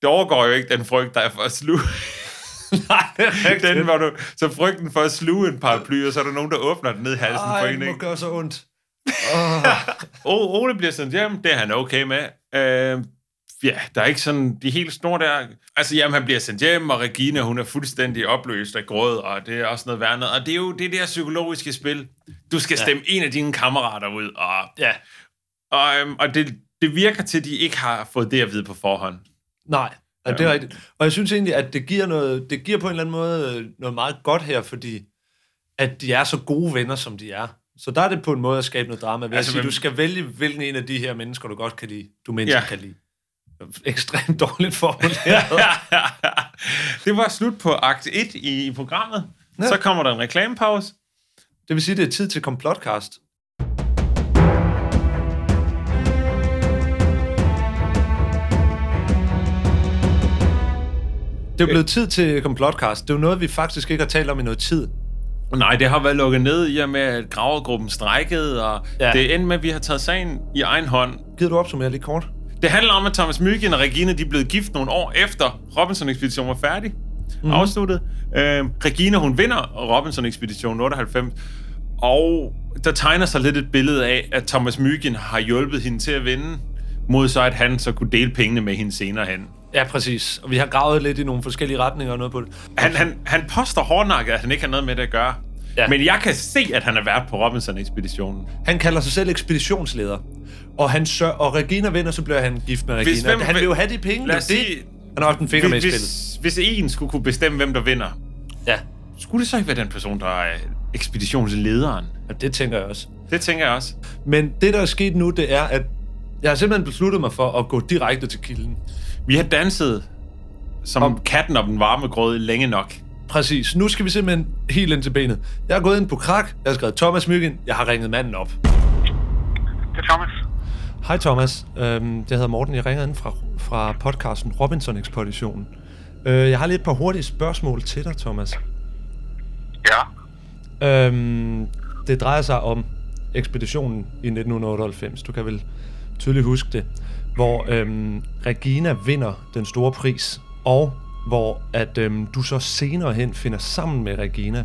S1: det overgår jo ikke den frygt, der er for at sluge.
S2: Nej, det er rigtigt.
S1: den, hvor du, så frygten for at sluge en paraply, og så er der nogen, der åbner den ned i halsen på
S2: Ej,
S1: en.
S2: det
S1: ikke?
S2: må gøre så ondt.
S1: O- Ole bliver sendt hjem, det er han okay med. Øh, ja, der er ikke sådan de helt store der. Altså, jamen, han bliver sendt hjem, og Regina, hun er fuldstændig opløst af gråd, og det er også noget værd noget. Og det er jo det der psykologiske spil. Du skal stemme en af dine kammerater ud, og,
S2: Ja.
S1: og, øhm, og det, det virker til, at de ikke har fået det at vide på forhånd.
S2: Nej, ja, det er rigtigt. Og jeg synes egentlig, at det giver, noget, det giver på en eller anden måde øh, noget meget godt her, fordi at de er så gode venner, som de er. Så der er det på en måde at skabe noget drama ved altså,
S1: Altså,
S2: at sige,
S1: men-
S2: du skal vælge, hvilken en af de her mennesker, du godt kan lide, du mindst
S1: Ja.
S2: ja. kan lide. Ekstremt dårligt formuleret.
S1: det var slut på akt 1 i, i programmet.
S2: Ja.
S1: Så kommer der en reklamepause.
S2: det vil sige, det er tid til komplotcast. Det er blevet tid til komplotcast. Det er jo noget, vi faktisk ikke har talt om i noget tid.
S1: Nej, det har været lukket ned i og med, at gravergruppen strækkede, og ja.
S2: Ja.
S1: det endte med, at vi har taget sagen i egen hånd.
S2: Gider du opsummere lidt kort?
S1: Det handler om, at Thomas Mygind og Regina de er blevet gift nogle år efter Robinson-ekspeditionen var færdig,
S2: Mhm.
S1: mm-hmm. afsluttet. Øh, Regina, hun vinder Robinson-ekspeditionen 98, og der tegner sig lidt et billede af, at Thomas Mygind har hjulpet hende til at vinde, mod så at han så kunne dele pengene med hende senere hen.
S2: Ja, præcis. Og vi har gravet lidt i nogle forskellige retninger og noget på det.
S1: Han, han, han påstår hårdnakket, at han ikke har noget med det at gøre. Ja.
S2: Ja.
S1: Men jeg kan se, at han er vært på Robinson-ekspeditionen.
S2: Han kalder sig selv ekspeditionsleder. Og, han sør, og Regina vinder, så bliver han gift med Regina.
S1: Hvis hvem
S2: han vil
S1: vil-
S2: jo have de penge,
S1: Lad
S2: det
S1: os
S2: er det.
S1: sige-
S2: Han har haft en finger med i spillet.
S1: Hvis, hvis en skulle kunne bestemme, hvem der vinder,
S2: Ja,
S1: skulle det så ikke være den person, der er ekspeditionslederen?
S2: og det tænker jeg også.
S1: Det tænker jeg også.
S2: Men det, der er sket nu, det er, at jeg har simpelthen besluttet mig for at gå direkte til kilden.
S1: Vi har danset som
S2: Om-
S1: Om. katten om den varme grød længe nok.
S2: Præcis. Nu skal vi simpelthen helt ind til benet. Jeg er gået ind på krak, jeg har skrevet Thomas Myggen, jeg har ringet manden op.
S8: Det er Thomas.
S2: Hej Thomas, øhm, jeg hedder Morten, jeg ringer ind fra, fra podcasten Robinson Ekspeditionen. Øh, jeg har lige et par hurtige spørgsmål til dig, Thomas.
S8: Ja.
S2: Øhm, det drejer sig om ekspeditionen i 1998, du kan vel tydeligt huske det, hvor øhm, Regina vinder den store pris, og hvor at øhm, du så senere hen finder sammen med Regina,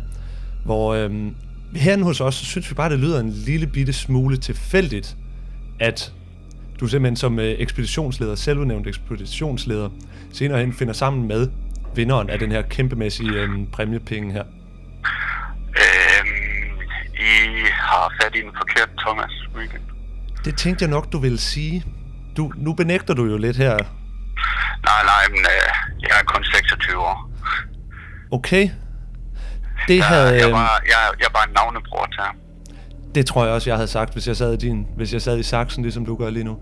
S2: hvor øhm, herinde hos os, så synes vi bare, det lyder en lille bitte smule tilfældigt, at du simpelthen som øh, ekspeditionsleder, selvudnævnt ekspeditionsleder, senere hen finder sammen med vinderen af den her kæmpemæssige øhm, præmiepenge her.
S8: Øhm, I har fat i en forkert Thomas Mygind.
S2: Det tænkte jeg nok, du ville sige. Du, nu benægter du jo lidt her.
S8: Nej, nej, men øh, jeg er kun 26 år.
S2: Okay. Det
S8: Jeg,
S2: havde,
S8: jeg,
S2: øhm,
S8: var, jeg, jeg var en navnebror til ham.
S2: Det tror jeg også, jeg havde sagt, hvis jeg sad i, din, hvis jeg sad i saksen, ligesom du gør lige nu.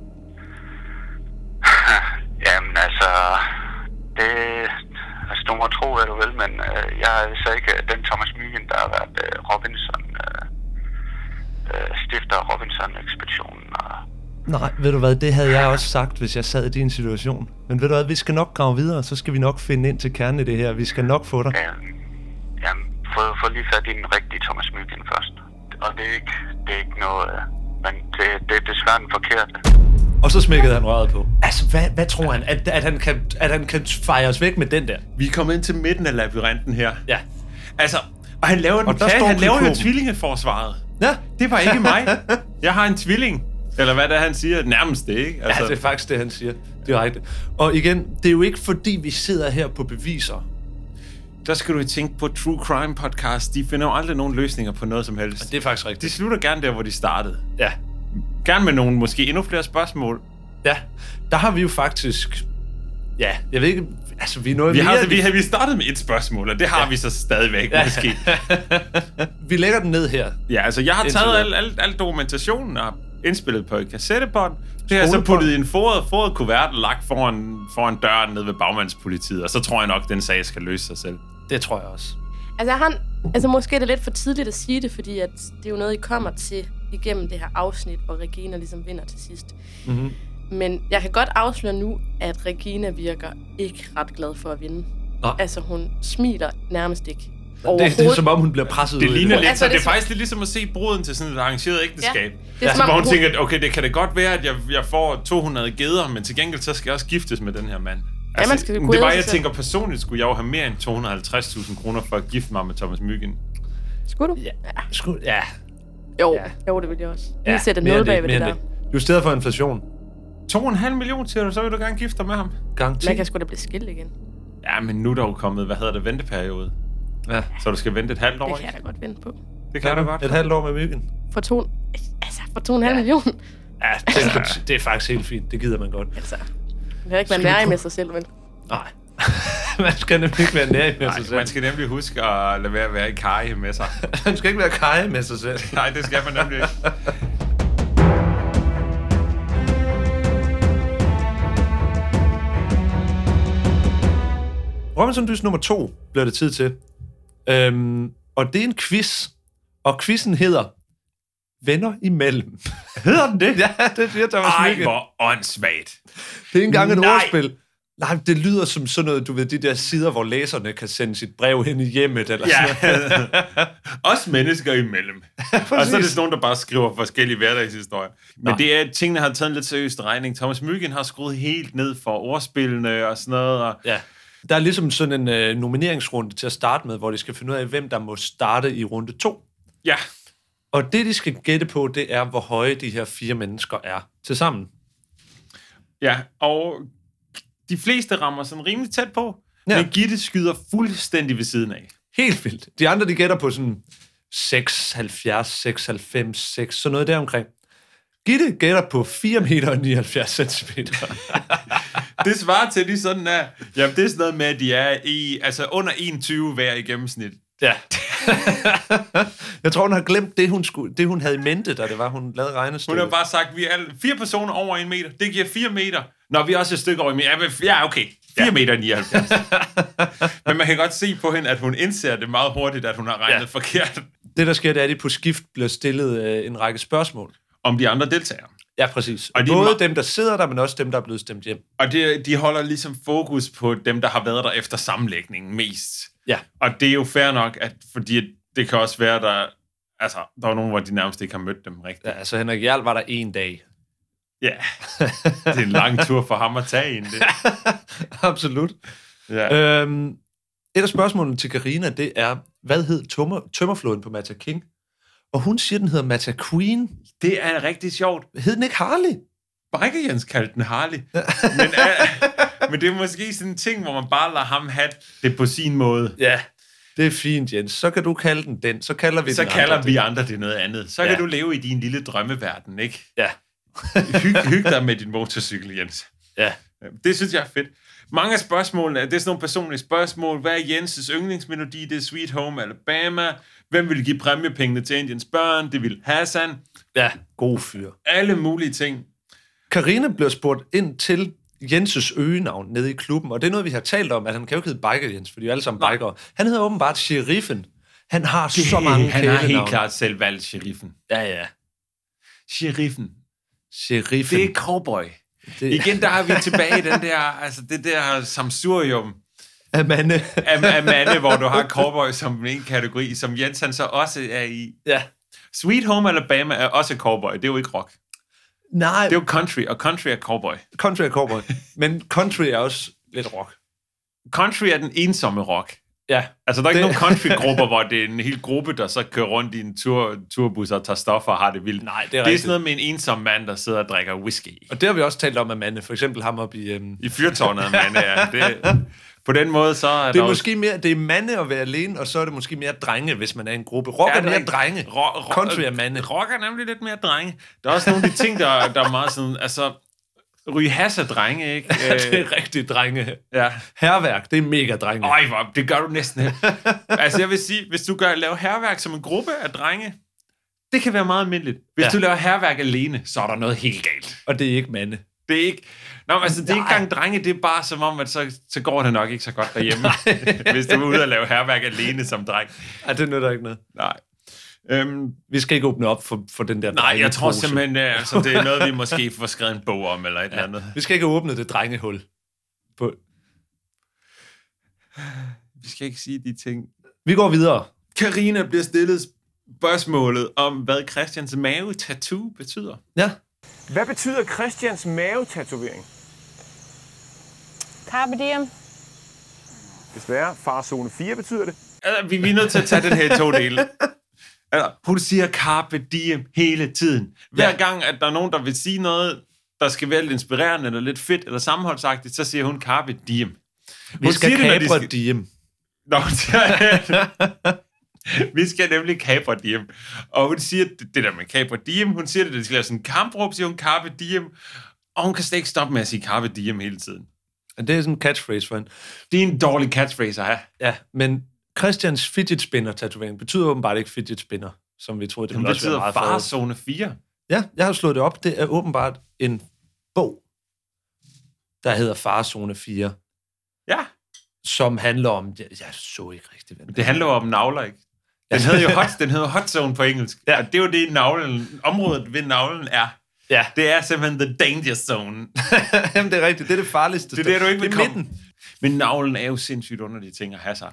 S8: Jamen altså, det altså, du må tro, hvad du vil, men øh, jeg er så ikke øh, den Thomas Mygen, der har været øh, Robinson, øh, øh, stifter af Robinson-ekspeditionen. Og,
S2: Nej, ved du hvad, det havde jeg også sagt, hvis jeg sad i din situation. Men ved du hvad, vi skal nok grave videre, så skal vi nok finde ind til kernen i det her. Vi skal nok få dig.
S8: øh, jamen, få, få lige fat i den rigtige Thomas Mygen først. Og det er ikke, det er ikke noget, øh, men det, det er desværre den forkerte.
S2: Og så smækkede han røret på. Altså, hvad, hvad tror han? At, at, han kan, at han kan fejre os væk med den der?
S1: Vi er kommet ind til midten af labyrinten her.
S2: Ja.
S1: Altså, og han laver, den
S2: der
S1: plan,
S2: står
S1: han laver jo
S2: kyklopen.
S1: tvillingeforsvaret.
S2: Ja,
S1: Det var ikke mig. Jeg har en tvilling. Eller hvad det er, han siger. Nærmest det, ikke?
S2: altså, ja, det er faktisk det, han siger direkte. Og igen, det er jo ikke fordi, vi sidder her på beviser.
S1: Der skal du tænke på True Crime Podcast. De finder jo aldrig nogen løsninger på noget som helst.
S2: Det er faktisk
S1: De
S2: rigtigt.
S1: slutter gerne der, hvor de startede.
S2: Ja.
S1: Gerne med nogle måske endnu flere spørgsmål.
S2: Ja, der har vi jo faktisk... Ja, jeg ved ikke... Altså, vi er noget
S1: Vi, har,
S2: mere...
S1: vi, har- vi startede med et spørgsmål, og det har ja. vi så stadigvæk ja. måske.
S2: vi lægger den ned her.
S1: Ja, altså jeg har
S2: Indtil
S1: taget al,
S2: videre.
S1: al, al dokumentationen og indspillet på et kassettebånd. Det har jeg så
S2: Skolebånd.
S1: puttet i en foret, foret kuvert og lagt foran, foran døren nede ved bagmandspolitiet. Og så tror jeg nok, den sag skal løse sig selv.
S2: Det tror jeg også.
S9: Altså, han, altså måske er det lidt for tidligt at sige det, fordi at det er jo noget, I kommer til igennem det her afsnit, hvor Regina ligesom vinder til sidst.
S2: Mhm.
S9: Men jeg kan godt afsløre nu, at Regina virker ikke ret glad for at vinde.
S2: Nå.
S9: Altså, hun smiler nærmest ikke.
S2: Det, det er som om, hun bliver presset
S1: Det
S2: ud i
S1: ligner
S9: det.
S1: lidt,
S9: Altså,
S1: så det
S9: det
S1: er
S9: er som-
S1: faktisk lidt ligesom at se bruden til sådan et arrangeret ægteskab. Ja.
S9: det er
S1: altså,
S9: som om,
S1: hvor hun
S9: hun-
S1: tænker, at, okay, det kan da godt være, at jeg, jeg får 200 geder, men til gengæld så skal jeg også giftes med den her mand. Altså,
S9: man skal jo
S1: men
S9: gå
S1: det er
S9: ud
S1: bare,
S9: af
S1: jeg
S9: sig selv.
S1: tænker personligt, skulle jeg jo have mere end 250.000 kroner for at gifte mig med Thomas Myggen.
S9: Skulle du?
S2: Ja. Sku, ja.
S9: Jo,
S2: Ja.
S9: ja. jo, det ville jeg også.
S2: ja.
S9: Lige sætte en
S2: mere
S9: nul
S2: end
S9: bag ved
S2: mere
S9: det
S2: end
S9: der.
S2: Justeret for inflation.
S1: 2,5 millioner til dig, så vil du gerne gifte dig med ham.
S2: Gang 10.
S9: Man kan sgu da blive skilt igen.
S1: Ja, men nu er der jo kommet, hvad hedder det, venteperiode.
S2: Ja.
S1: Så du skal vente et halvt år,
S9: Det kan jeg
S1: ikke?
S9: da godt vinde på.
S1: Det kan du godt.
S2: Et halvt år med myggen.
S9: For to, altså, for to og en halv million.
S2: Ja, det, det er faktisk helt fint. Det gider man godt.
S9: Altså, man kan ikke
S2: Skal
S9: være
S2: vi
S9: nær
S2: prøve-
S9: med sig selv, men
S2: Nej. man skal nemlig ikke være nær med sig
S1: Nej,
S2: selv.
S1: man skal nemlig huske at lade være at være i karje med sig.
S2: man skal ikke være kaj med sig selv.
S1: Nej, det skal man nemlig ikke.
S2: Robinson Dys nummer to bliver det tid til. Øhm, og det er en quiz. Og quizzen hedder Venner imellem. hedder den det? Ja, det siger Thomas
S1: Ej,
S2: Mygind.
S1: hvor åndssvagt.
S2: Det er ikke engang et
S1: Nej.
S2: ordspil. Nej, men det lyder som sådan noget, du ved, de der sider, hvor læserne kan sende sit brev hen i hjemmet, eller sådan noget.
S1: Ja. Os mennesker imellem. og så er det sådan nogen, der bare skriver forskellige hverdagshistorier. Men det er, at tingene har taget en lidt seriøs regning. Thomas Mygind har skruet helt ned for ordspillene og sådan noget. Og
S2: Ja. Der er ligesom sådan en øh, nomineringsrunde til at starte med, hvor de skal finde ud af, hvem der må starte i runde to.
S1: ja,
S2: Og det, de skal gætte på, det er, hvor høje de her fire mennesker er til sammen.
S1: ja. Og de fleste rammer sådan rimelig tæt på.
S2: Ja.
S1: Ja. Men Gitte skyder fuldstændig ved siden af.
S2: Helt vildt. De andre, de gætter på sådan 6, 70, 96, 6, sådan noget deromkring. Gitte gætter på 4 meter og 79 centimeter.
S1: Det svarer til, at de sådan er... Jamen, det er sådan noget med, at de er i, altså under 21 hver i gennemsnit.
S2: Ja. jeg tror, hun har glemt det, hun, skulle, det, hun havde i mente, da det var, hun lavede
S1: Hun
S2: regnestykket.
S1: har bare sagt, at vi er alle, fire personer over en meter. Det giver 4 meter. Når vi er også et stykke over en meter. Ja, men- Ja, okay. 4 ja. meter 79. men man kan godt se på hende, at hun indser det meget hurtigt, at hun har regnet
S2: Ja.
S1: ja. forkert
S2: Det, der sker, det er, at de på skift bliver stillet øh, en række spørgsmål.
S1: om de andre deltagere.
S2: Ja, præcis. Og
S1: Og de er
S2: Både
S1: ma-
S2: dem, der sidder der, men også dem, der er blevet stemt hjem.
S1: Og det, de holder ligesom fokus på dem, der har været der efter sammenlægningen mest.
S2: Ja.
S1: Og det er jo fair nok, at, fordi det kan også være, der, altså, der er nogen, hvor de nærmest ikke har mødt dem rigtigt.
S2: ja altså, Henrik Jarl var der en dag.
S1: Ja, det er en lang tur for ham at tage ind. Det. Øh,
S2: Absolut.
S1: Ja.
S2: Øhm, et af spørgsmålene til Karina det er, hvad hed tømmer, tømmerflåden på Mata King? Og hun siger, den hedder Mata Queen.
S1: Det er rigtig sjovt.
S2: Hed den ikke Harley?
S1: Brække Jens kaldte den Harley. men, uh, men det er måske sådan en ting, hvor man bare lader ham have det på sin måde.
S2: Ja. Det er fint, Jens. Så kan du kalde den den. Så kalder vi
S1: Så
S2: den
S1: kalder
S2: andre.
S1: vi andre det noget andet. Så
S2: Ja.
S1: kan du leve i din lille drømmeverden, ikke?
S2: Ja.
S1: Hyg, hyg dig med din motorcykel, Jens.
S2: Ja.
S1: Det synes jeg er fedt. Mange af spørgsmålene, det er sådan nogle personlige spørgsmål. Hvad er Jenses yndlingsmelodi? Det er Sweet Home Alabama. Hvem ville give præmiepengene til Indiens børn? Det vil Hassan.
S2: Ja, god fyr.
S1: Alle mulige ting.
S2: Karine bliver spurgt ind til Jenses øgenavn nede i klubben, og det er noget, vi har talt om, at han kan jo ikke hedde Biker Jens, fordi vi er alle sammen bikere. Han hedder åbenbart Sheriffen. Han har det, så mange
S1: Han har helt
S2: kælenavne.
S1: klart selv valgt sheriffen.
S2: Ja, ja.
S1: Sheriffen.
S2: Sheriffen.
S1: Det er cowboy.
S2: det,
S1: Igen, der er vi tilbage i den der, altså det der samsurium
S2: Amanda.
S1: af, af mande, hvor du har cowboy som en kategori, som Jens han så også er i.
S2: ja.
S1: Sweet Home Alabama er også cowboy, det er jo ikke rock.
S2: Nej,
S1: Det er jo country, og country er cowboy.
S2: country er cowboy. Men country er også lidt rock.
S1: Country er den ensomme rock.
S2: Ja.
S1: Altså, der er ikke
S2: Det-
S1: nogen countrygrupper, hvor det er en hel gruppe, der så kører rundt i en tur, turbus og tager stoffer og har det vildt.
S2: Nej, det er
S1: det er
S2: rigtigt.
S1: sådan noget med en ensom mand, der sidder og drikker whisky.
S2: Og det har vi også talt om Amanda. For eksempel ham op i... Øhm,
S1: I fyrtårnet, mand. Ja. Det, på den måde, så er
S2: det
S1: der
S2: er
S1: jo-
S2: måske mere, det er mande at være alene, og så er det måske mere drenge, hvis man er i en gruppe. Rock
S1: Ja,
S2: er
S1: der
S2: mere
S1: ikke-
S2: drenge.
S1: Ro- ro-
S2: Country er mande.
S1: Rock er nemlig lidt mere drenge. Der er også nogle af de ting, der, der er meget sådan... Altså, ryge has er drenge, ikke?
S2: det
S1: Øh,
S2: er rigtig drenge.
S1: ja.
S2: Herværk, det er mega drenge.
S1: Øj, hvor, det gør du næsten ikke. Altså, jeg vil sige, hvis du gør, laver herværk som en gruppe af drenge, det kan være meget almindeligt. Hvis
S2: Ja.
S1: ja. du laver herværk alene, så er der noget helt galt.
S2: Og det er ikke mande.
S1: Det er ikke... Nå, men altså, det er ikke engang drenge, det er bare som om, at så, så går det nok ikke så godt derhjemme, hvis du er ude og lave herværk alene som dreng.
S2: Ej, det nytter ikke noget.
S1: Nej. Øhm,
S2: Vi skal ikke åbne op for, for den der
S1: nej, jeg tror
S2: drengepose.
S1: simpelthen, det er, altså, det er noget, vi måske får skrevet en bog om, eller et ja. eller andet.
S2: Vi skal ikke åbne det drengehul. På.
S1: Vi skal ikke sige de ting.
S2: Vi går videre.
S1: Karina bliver stillet spørgsmålet om, hvad Christians mave-tattoo betyder.
S2: Ja.
S7: Hvad betyder Christians mavetatovering?
S10: Carpe diem.
S7: Desværre, farzone 4 betyder det.
S1: Altså, vi, vi er nødt til at tage den her i to dele. Altså, hun siger carpe diem hele tiden. Hver
S2: Ja.
S1: ja. gang, at der er nogen, der vil sige noget, der skal være lidt inspirerende, eller lidt fedt, eller sammenholdsagtigt, så siger hun carpe diem.
S2: Vi
S1: Hun
S2: skal
S1: siger det, når de
S2: kapre
S1: skal-
S2: diem.
S1: Nå, hun siger, vi skal nemlig capre diem. Og hun siger det, det der med capre diem, hun siger det, at de skal lave sådan en kampråb, siger hun carpe diem. Og hun kan slet ikke stoppe med at sige carpe diem hele tiden.
S2: Det er sådan en catchphrase for hende.
S1: Det er en dårlig catchphrase at have.
S2: Ja, men Christians fidget spinner tatovering betyder åbenbart ikke fidget spinner, som vi troede, det
S1: Den
S2: ville også være
S1: betyder
S2: meget farligt.
S1: farzone 4.
S2: Ja, jeg har slået det op. Det er åbenbart en bog, der hedder Farzone 4,
S1: Ja,
S2: som handler om... Jeg, jeg så ikke rigtig, hvad den
S1: Det handler jo om navler, ikke? Den hedder jo hot, den hedder hot zone på engelsk. Ja. Og det er jo det, navlen, området ved navlen er.
S2: Ja.
S1: Det er simpelthen the danger zone.
S2: Jamen, det er rigtigt. Det er det farligste.
S1: Det er det, du ikke
S2: Det
S1: vil
S2: er
S1: komme.
S2: midten.
S1: Men navlen er jo sindssygt underlige ting at have sig.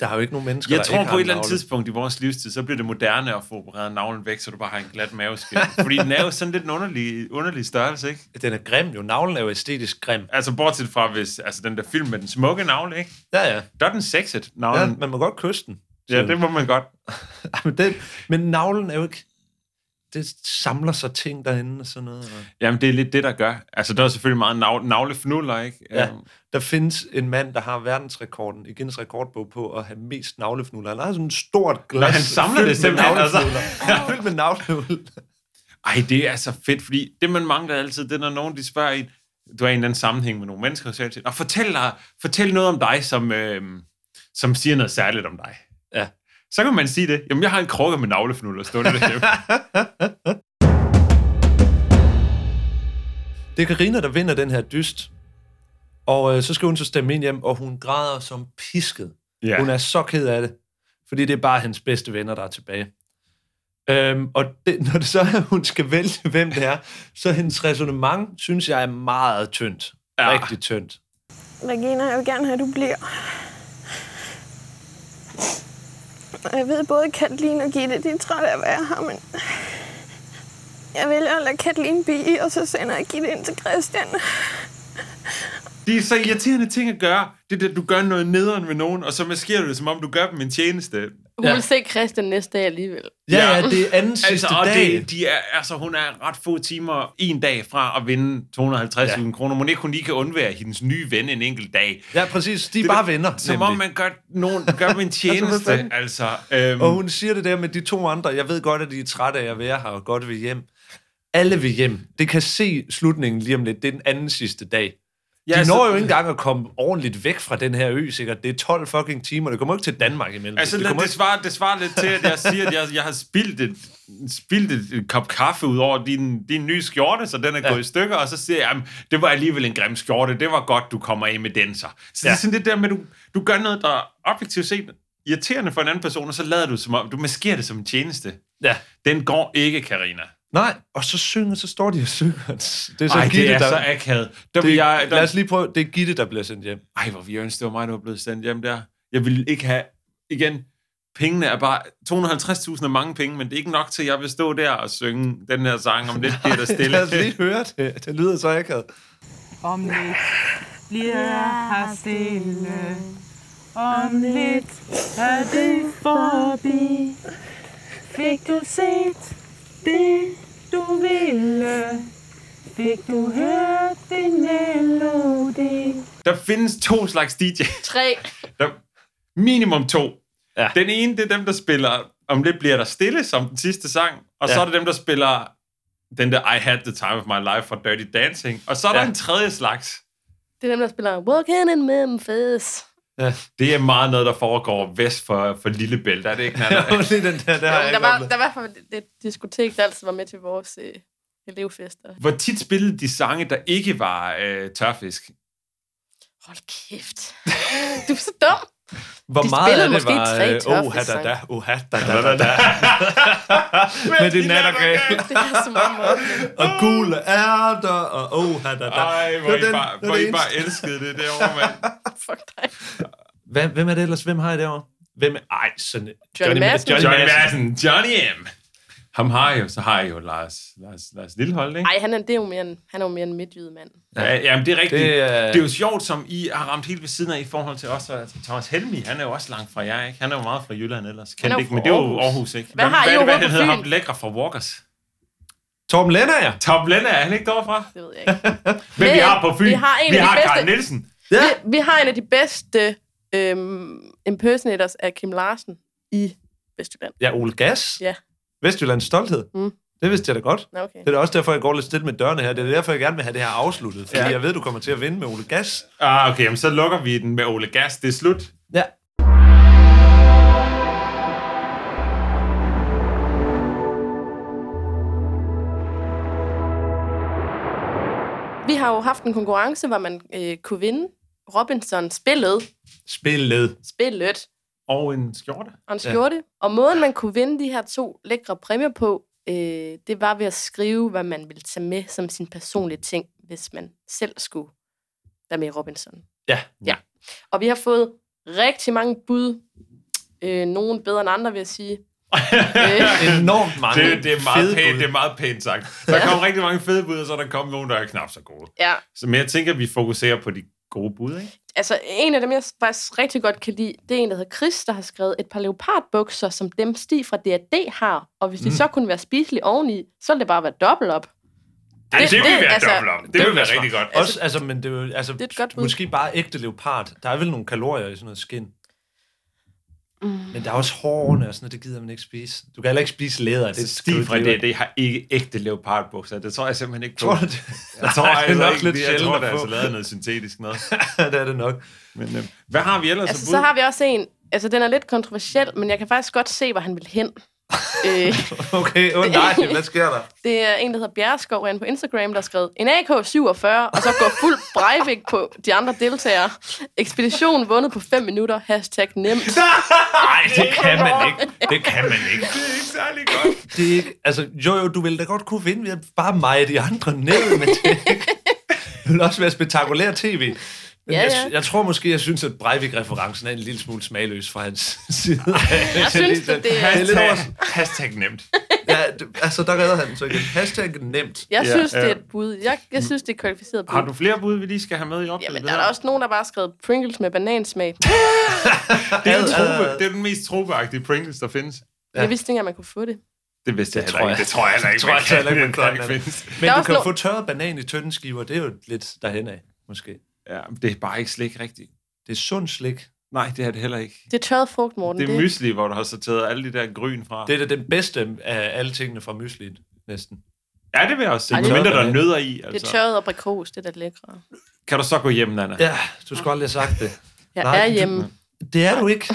S2: Der er jo ikke nogen mennesker,
S1: Jeg
S2: der
S1: tror
S2: ikke
S1: på
S2: har
S1: et
S2: en
S1: eller andet
S2: navle.
S1: tidspunkt i vores livstid, så bliver det moderne at få opereret navlen væk, så du bare har en glat maveskin. Fordi den er jo sådan lidt en underlig, underlig størrelse, ikke?
S2: Den er grim jo. Navlen er jo æstetisk grim.
S1: Altså bortset fra, hvis altså den der film med den smukke navle, ikke?
S2: Ja, ja.
S1: Der er den sexet,
S2: ja
S1: navlen.
S2: man må godt kysse den.
S1: Ja, ja det må man godt.
S2: men, den, men navlen er jo ikke... Det samler sig ting derinde og sådan noget. Og
S1: Jamen, det er lidt det, der gør. Altså, der er selvfølgelig meget nav- navlefnuller, ikke?
S2: Ja.
S1: Øhm,
S2: der findes en mand, der har verdensrekorden i Guinness rekordbog på at have mest navlefnuller. Han har sådan et stort glas.
S1: han samler
S2: fyldt
S1: det simpelthen,
S2: Med
S1: altså.
S2: navlefnuller. fyldt med navlefnuller.
S1: Ej, det er så fedt, fordi det, man mangler altid, det er, når nogen de spørger en, du er i en eller anden sammenhæng med nogle mennesker, og siger til, og fortæl, dig, fortæl noget om dig, som, øh, som siger noget særligt om dig.
S2: Ja.
S1: Så kan man sige det. Jamen, jeg har en krukke med navlefnuller stående derhjemme.
S2: Det er Karina, der vinder den her dyst. Og øh, så skal hun så stemme ind hjem, og hun græder som pisket. Ja.
S1: ja.
S2: Hun er så ked af det, fordi det er bare hendes bedste venner, der er tilbage. Øhm, og det, når det så er, at hun skal vælge, hvem det er, så hendes resonemang, synes jeg, er meget tyndt. Ja.
S1: Ja.
S2: Rigtig tyndt.
S10: Regina, jeg vil gerne have, at du bliver. Og Jeg ved både Katalin og Gitte, de er trætte af, hvad jeg har, men... Jeg vælger at lade Katalin blive, og så sender jeg Gitte ind til Christian.
S1: Det er så irriterende ting at gøre. Det er det, du gør noget nederen ved nogen, og så maskerer du det, som om du gør dem en tjeneste.
S9: Hun
S2: Ja.
S9: ja. vil se Christian næste dag alligevel.
S2: Ja,
S1: Ja.
S2: ja, det er anden sidste
S1: og
S2: dag.
S1: Det, de er, altså, hun er ret få timer en dag fra at vinde 250.000 ja. kroner. Mon ikke hun lige kan undvære hendes nye ven en enkelt dag.
S2: Ja, præcis. De er bare venner.
S1: Som
S2: nemlig.
S1: om man gør, nogen, gør dem en tjeneste,
S2: fanden?
S1: altså. Øhm,
S2: Og hun siger det der med de to andre. Jeg ved godt, at de er trætte af at være her og godt vil hjem. Alle vil hjem. Det kan se slutningen lige om lidt. Det er den anden sidste dag. Ja,
S1: Ja,
S2: de når
S1: så-
S2: jo ikke engang at komme ordentligt væk fra den her ø, sikkert. Det er 12 fucking timer. Det kommer jo ikke til Danmark imellem.
S1: Altså, det,
S2: kommer
S1: det, svarer, det svarer lidt til, at jeg siger, at jeg, jeg har spildt et, spildt et, et kop kaffe ud over din, din nye skjorte, så den er ja. gået i stykker, og så siger jeg, at det var alligevel en grim skjorte, det var godt, du kommer af med den så. Så ja. det er sådan det der med, at du, du gør noget, der er objektivt set irriterende for en anden person, og så lader du som om, du maskerer det som en tjeneste.
S2: Ja.
S1: Den går ikke, Karina.
S2: Nej, og så synger, så står de og synger. Det er så
S1: Ej,
S2: Gitte,
S1: det er
S2: der...
S1: så akavet. Der vil
S2: det,
S1: jeg, der,
S2: Lad os lige prøve. Det er Gitte, der bliver sendt hjem.
S1: Ej, hvor vi ønsker, det var mig, der var blevet sendt hjem der. Jeg ville ikke have, igen, pengene er bare, 250.000 er mange penge, men det er ikke nok til, at jeg vil stå der og synge den her sang, om lidt bliver der stille.
S2: Lad os lige høre det. Det lyder så akavet.
S11: Om lidt bliver her stille. Om lidt er det forbi. Fik du set det, du ville? Fik du hørt din melodi?
S1: Der findes to slags DJ.
S9: Tre.
S1: Der, minimum to. Ja. Den ene, det er dem, der spiller, om lidt bliver der stille, som den sidste sang, og ja. så
S2: Ja.
S1: er det dem, der spiller den der I Had The Time Of My Life fra Dirty Dancing. Og så er der
S2: Ja.
S1: en tredje slags.
S9: Det er dem, der spiller Walking in Memphis.
S2: Ja.
S1: Det er meget noget, der foregår vest for, for Lillebælt, er det ikke? Nanna?
S2: Jo, lige den der, der har jeg
S9: der,
S2: ikke
S9: var,
S2: oplevet.
S9: der var i hvert fald et- et diskotek, der altid var med til vores øh, elevfester.
S1: Hvor tit spillede de sange, der ikke var øh, tørfisk?
S9: Hold kæft. Du er så dum.
S2: Hvor
S9: de
S2: meget
S9: spillede
S2: af det
S9: måske
S2: var...
S9: tre
S2: øh, Oh, ha, da,
S9: tørfisk-sange.
S2: da, oh, ha, da, da, da, da. Med det nattergale.
S9: Det er som om, at
S2: Og gul ærter, og oh, ha, da, da.
S1: Ej, hvor
S2: Det var
S1: I
S2: den-
S1: bare,
S2: det var
S1: hvor
S2: det
S1: I
S2: eneste.
S1: bare elskede det derovre, mand.
S9: fuck dig.
S2: Hvem, hvem er det ellers? Hvem har I derovre? Hvem er... Ej, sådan...
S9: Johnny Madsen.
S2: Johnny,
S1: Johnny
S2: Madsen.
S1: Madsen, Johnny M. Ham har I jo, så har I jo Lars, Lars, Lars Lillehold, ikke?
S9: Ej, han er, det er jo mere en, han er jo mere en midtjyde mand.
S1: Ja, jamen, det er rigtigt.
S2: Det
S1: Det,
S2: er-
S1: er...
S9: øh-
S1: det er jo sjovt, som I har ramt helt ved siden af i forhold til os. og altså, Thomas Helmi, han er jo også langt fra jer, ikke? Han er jo meget fra Jylland ellers.
S9: er
S1: Kendt
S9: jo
S1: ikke,
S9: fra
S1: men det er jo
S9: Aarhus.
S1: Aarhus, ikke?
S9: Hvad har I
S1: hvad,
S9: jo
S1: hvad,
S9: over på
S1: han hedder
S9: Fyn?
S1: ham lækre fra Walkers?
S2: Torben Lennager.
S1: Tom Lenne, er han ikke derovre
S9: Det ved jeg ikke.
S1: Men vi har på Fyn,
S9: Vi har en
S1: vi
S9: af de
S1: har
S9: bedste-
S1: Karen Nielsen.
S2: Ja.
S9: Vi, vi har en af de bedste øhm, impersonators af Kim Larsen i Vestjylland.
S2: Ja, Ole Gas.
S9: Ja.
S2: Vestjyllands stolthed.
S9: Mm.
S2: Det vidste jeg da godt.
S9: Nå, okay.
S2: Det er da også derfor, jeg går lidt stille med dørene her. Det er derfor, jeg gerne vil have det her afsluttet. Fordi
S1: Ja.
S2: ja. jeg ved, du kommer til at vinde med Ole Gas.
S1: Ah, okay, jamen, så lukker vi den med Ole Gas. Det er slut.
S2: Ja.
S9: Vi har jo haft en konkurrence, hvor man øh, kunne vinde Robinson spillet,
S2: Spillet.
S9: spillet
S1: Og en skjorte.
S9: og en skjorte. Ja. Og måden, man kunne vinde de her to lækre præmier på, øh, det var ved at skrive, hvad man ville tage med som sin personlige ting, hvis man selv skulle være med i Robinson.
S2: Ja.
S9: Ja. Og vi har fået rigtig mange bud. Øh, nogle bedre end andre, vil jeg sige. øh,
S2: Enormt mange
S1: Det, det, er meget
S2: fede
S1: pænt,
S2: bud.
S1: det er meget pænt sagt. Der kom rigtig mange fede bud, og så er der kom nogen, der er knap så gode.
S9: ja.
S1: Så men jeg tænker, at vi fokuserer på de gode bud, ikke?
S9: Altså, en af dem, jeg faktisk rigtig godt kan lide, det er en, der hedder Chris, der har skrevet et par leopardbukser, som dem Stig fra D&D har. Og hvis mm.
S2: Mm.
S9: de så kunne være spiselige oveni, så ville det bare være dobbelt op.
S1: Det, det, det vil
S9: det-
S1: være altså,
S9: altså-
S1: dobbelt om. Det, det vil være
S2: smart.
S1: rigtig godt.
S2: Også, altså, men det er jo, altså,
S9: Det er et godt bud.
S2: måske bare ægte leopard. Der er vel nogle kalorier i sådan noget skin.
S9: Mm.
S2: Men der er også hårene og sådan noget, det gider man ikke spise. Du kan heller ikke spise læder. Det er
S1: Det Stig fra
S2: skiddyrt.
S1: det, det har ikke ægte leopardbukser. Det tror jeg simpelthen ikke på.
S2: Tror du det?
S1: Jeg tror, jeg,
S2: det er
S1: heller
S2: nok
S1: ikke,
S2: lidt
S1: lidt jeg tror,
S2: sjældent
S1: der er
S2: at
S1: altså
S2: få.
S1: lavet noget syntetisk noget.
S2: Ja, det er det nok.
S1: Men, øh, hvad har vi ellers
S9: Altså,
S1: af
S9: så
S1: bud?
S9: har vi også en, altså den er lidt kontroversiel, men jeg kan faktisk godt se, hvor han vil hen. øh,
S2: Okay, åh oh, nej, hvad sker der?
S9: det er en, der hedder Bjerreskov, han på Instagram, der har skrevet en AK-47, og så går fuld Breivik på de andre deltagere. Ekspedition vundet på 5 minutter, hashtag nemt.
S2: Nej, det kan man ikke. Det kan man ikke.
S1: Det er ikke særlig godt.
S2: Det er ikke, altså, jo, jo, du ville da godt kunne vinde ved at bare meje de andre ned, men det, er ikke, det ville også være spektakulær tv. Men
S9: Ja,
S2: jeg,
S9: ja.
S2: jeg, tror måske, jeg synes, at Breivik-referencen er en lille smule smagløs fra hans side. Jeg
S9: synes, at det er-
S2: er lidt
S1: Hashtag,
S2: over,
S1: hashtag nemt.
S2: ja, det- altså, der redder han den så igen. Hashtag nemt.
S9: Jeg
S1: Ja,
S9: synes, det
S1: ja.
S9: er et bud. Jeg, jeg synes, det er et kvalificeret bud.
S1: Har du flere bud, vi lige skal have med i oplevelsen?
S9: Jamen, der er der også nogen, der bare har skrevet Pringles med banansmag.
S1: Det er, en
S2: Ad,
S1: trope,
S2: ad, ad.
S1: det er den mest tropeagtige Pringles, der findes.
S9: Ja. Jeg vidste ikke, at man kunne få det.
S1: Det vidste jeg
S2: Det
S1: heller ikke.
S2: tror jeg-
S1: Det tror jeg heller ikke,
S2: tror jeg
S1: man kan.
S2: heller ikke,
S1: Det
S2: man
S1: tror jeg
S2: kan.
S1: ikke findes.
S2: Men
S9: er
S2: du
S9: også
S2: kan jo
S9: no-
S2: få tørret banan i tynde skiver. Det er jo lidt derhen af, måske.
S1: Ja, men det er bare ikke slik rigtigt.
S2: Det er sund slik.
S1: Nej, det er det heller ikke.
S9: Det er tørret frugt, Morten.
S1: Det er mysli, hvor du har sorteret alle de der gryn fra.
S2: Det er da den bedste af alle tingene fra mysliet, næsten.
S1: Ja, det vil jeg også sige.
S2: Ej,
S1: Men
S2: det-
S1: mindre der er nødder i.
S9: det er
S1: Altså.
S9: tørret aprikos, det er da lækre.
S1: Kan du så gå hjem, Nana?
S2: Ja, du skulle aldrig have sagt det.
S9: Jeg er hjemme.
S2: Det er du ikke.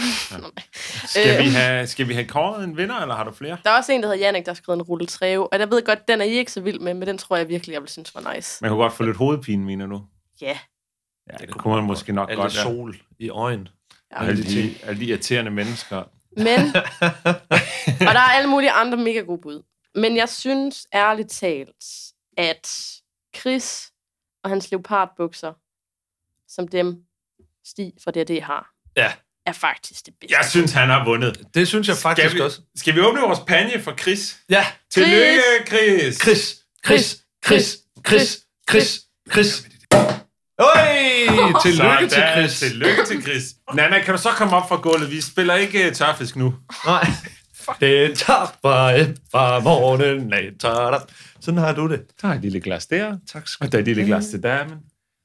S1: Skal
S9: Øh.
S1: vi, have, skal vi have kåret en vinder, eller har du flere?
S9: Der er også en, der hedder Jannik, der har skrevet en rulle træve, og jeg ved godt, den er I ikke så vild med, men den tror jeg virkelig, jeg vil synes var nice.
S1: Man kunne godt få lidt hovedpine, mener du?
S9: Ja.
S1: Ja, det, det kunne man måske nok
S2: Alt
S1: godt.
S2: det sol i øjen.
S9: Ja.
S1: Ja. Alle, de, alle de irriterende mennesker.
S9: Men, og der er alle mulige andre mega gode bud. Men jeg synes ærligt talt, at Chris og hans leopardbukser, som dem Stig fra DD har,
S2: Ja.
S9: er faktisk det bedste.
S1: Jeg synes, han har vundet.
S2: Det synes jeg faktisk
S1: skal vi,
S2: også.
S1: Skal vi åbne vores panje for Chris?
S2: Ja.
S1: Tillykke, Chris!
S2: Chris, Chris, Chris, Chris, Chris, Chris. Øj! Tillykke til
S1: Sådan.
S2: Chris.
S1: Tillykke til Chris. Nana, kan du så komme op fra gulvet? Vi spiller ikke øh, tørfisk nu.
S2: Nej. Det tapper et fra morgenen af. Tadam. Sådan har du det.
S1: Der er et lille glas der.
S2: Tak skal
S1: Og der er et lille glas til damen.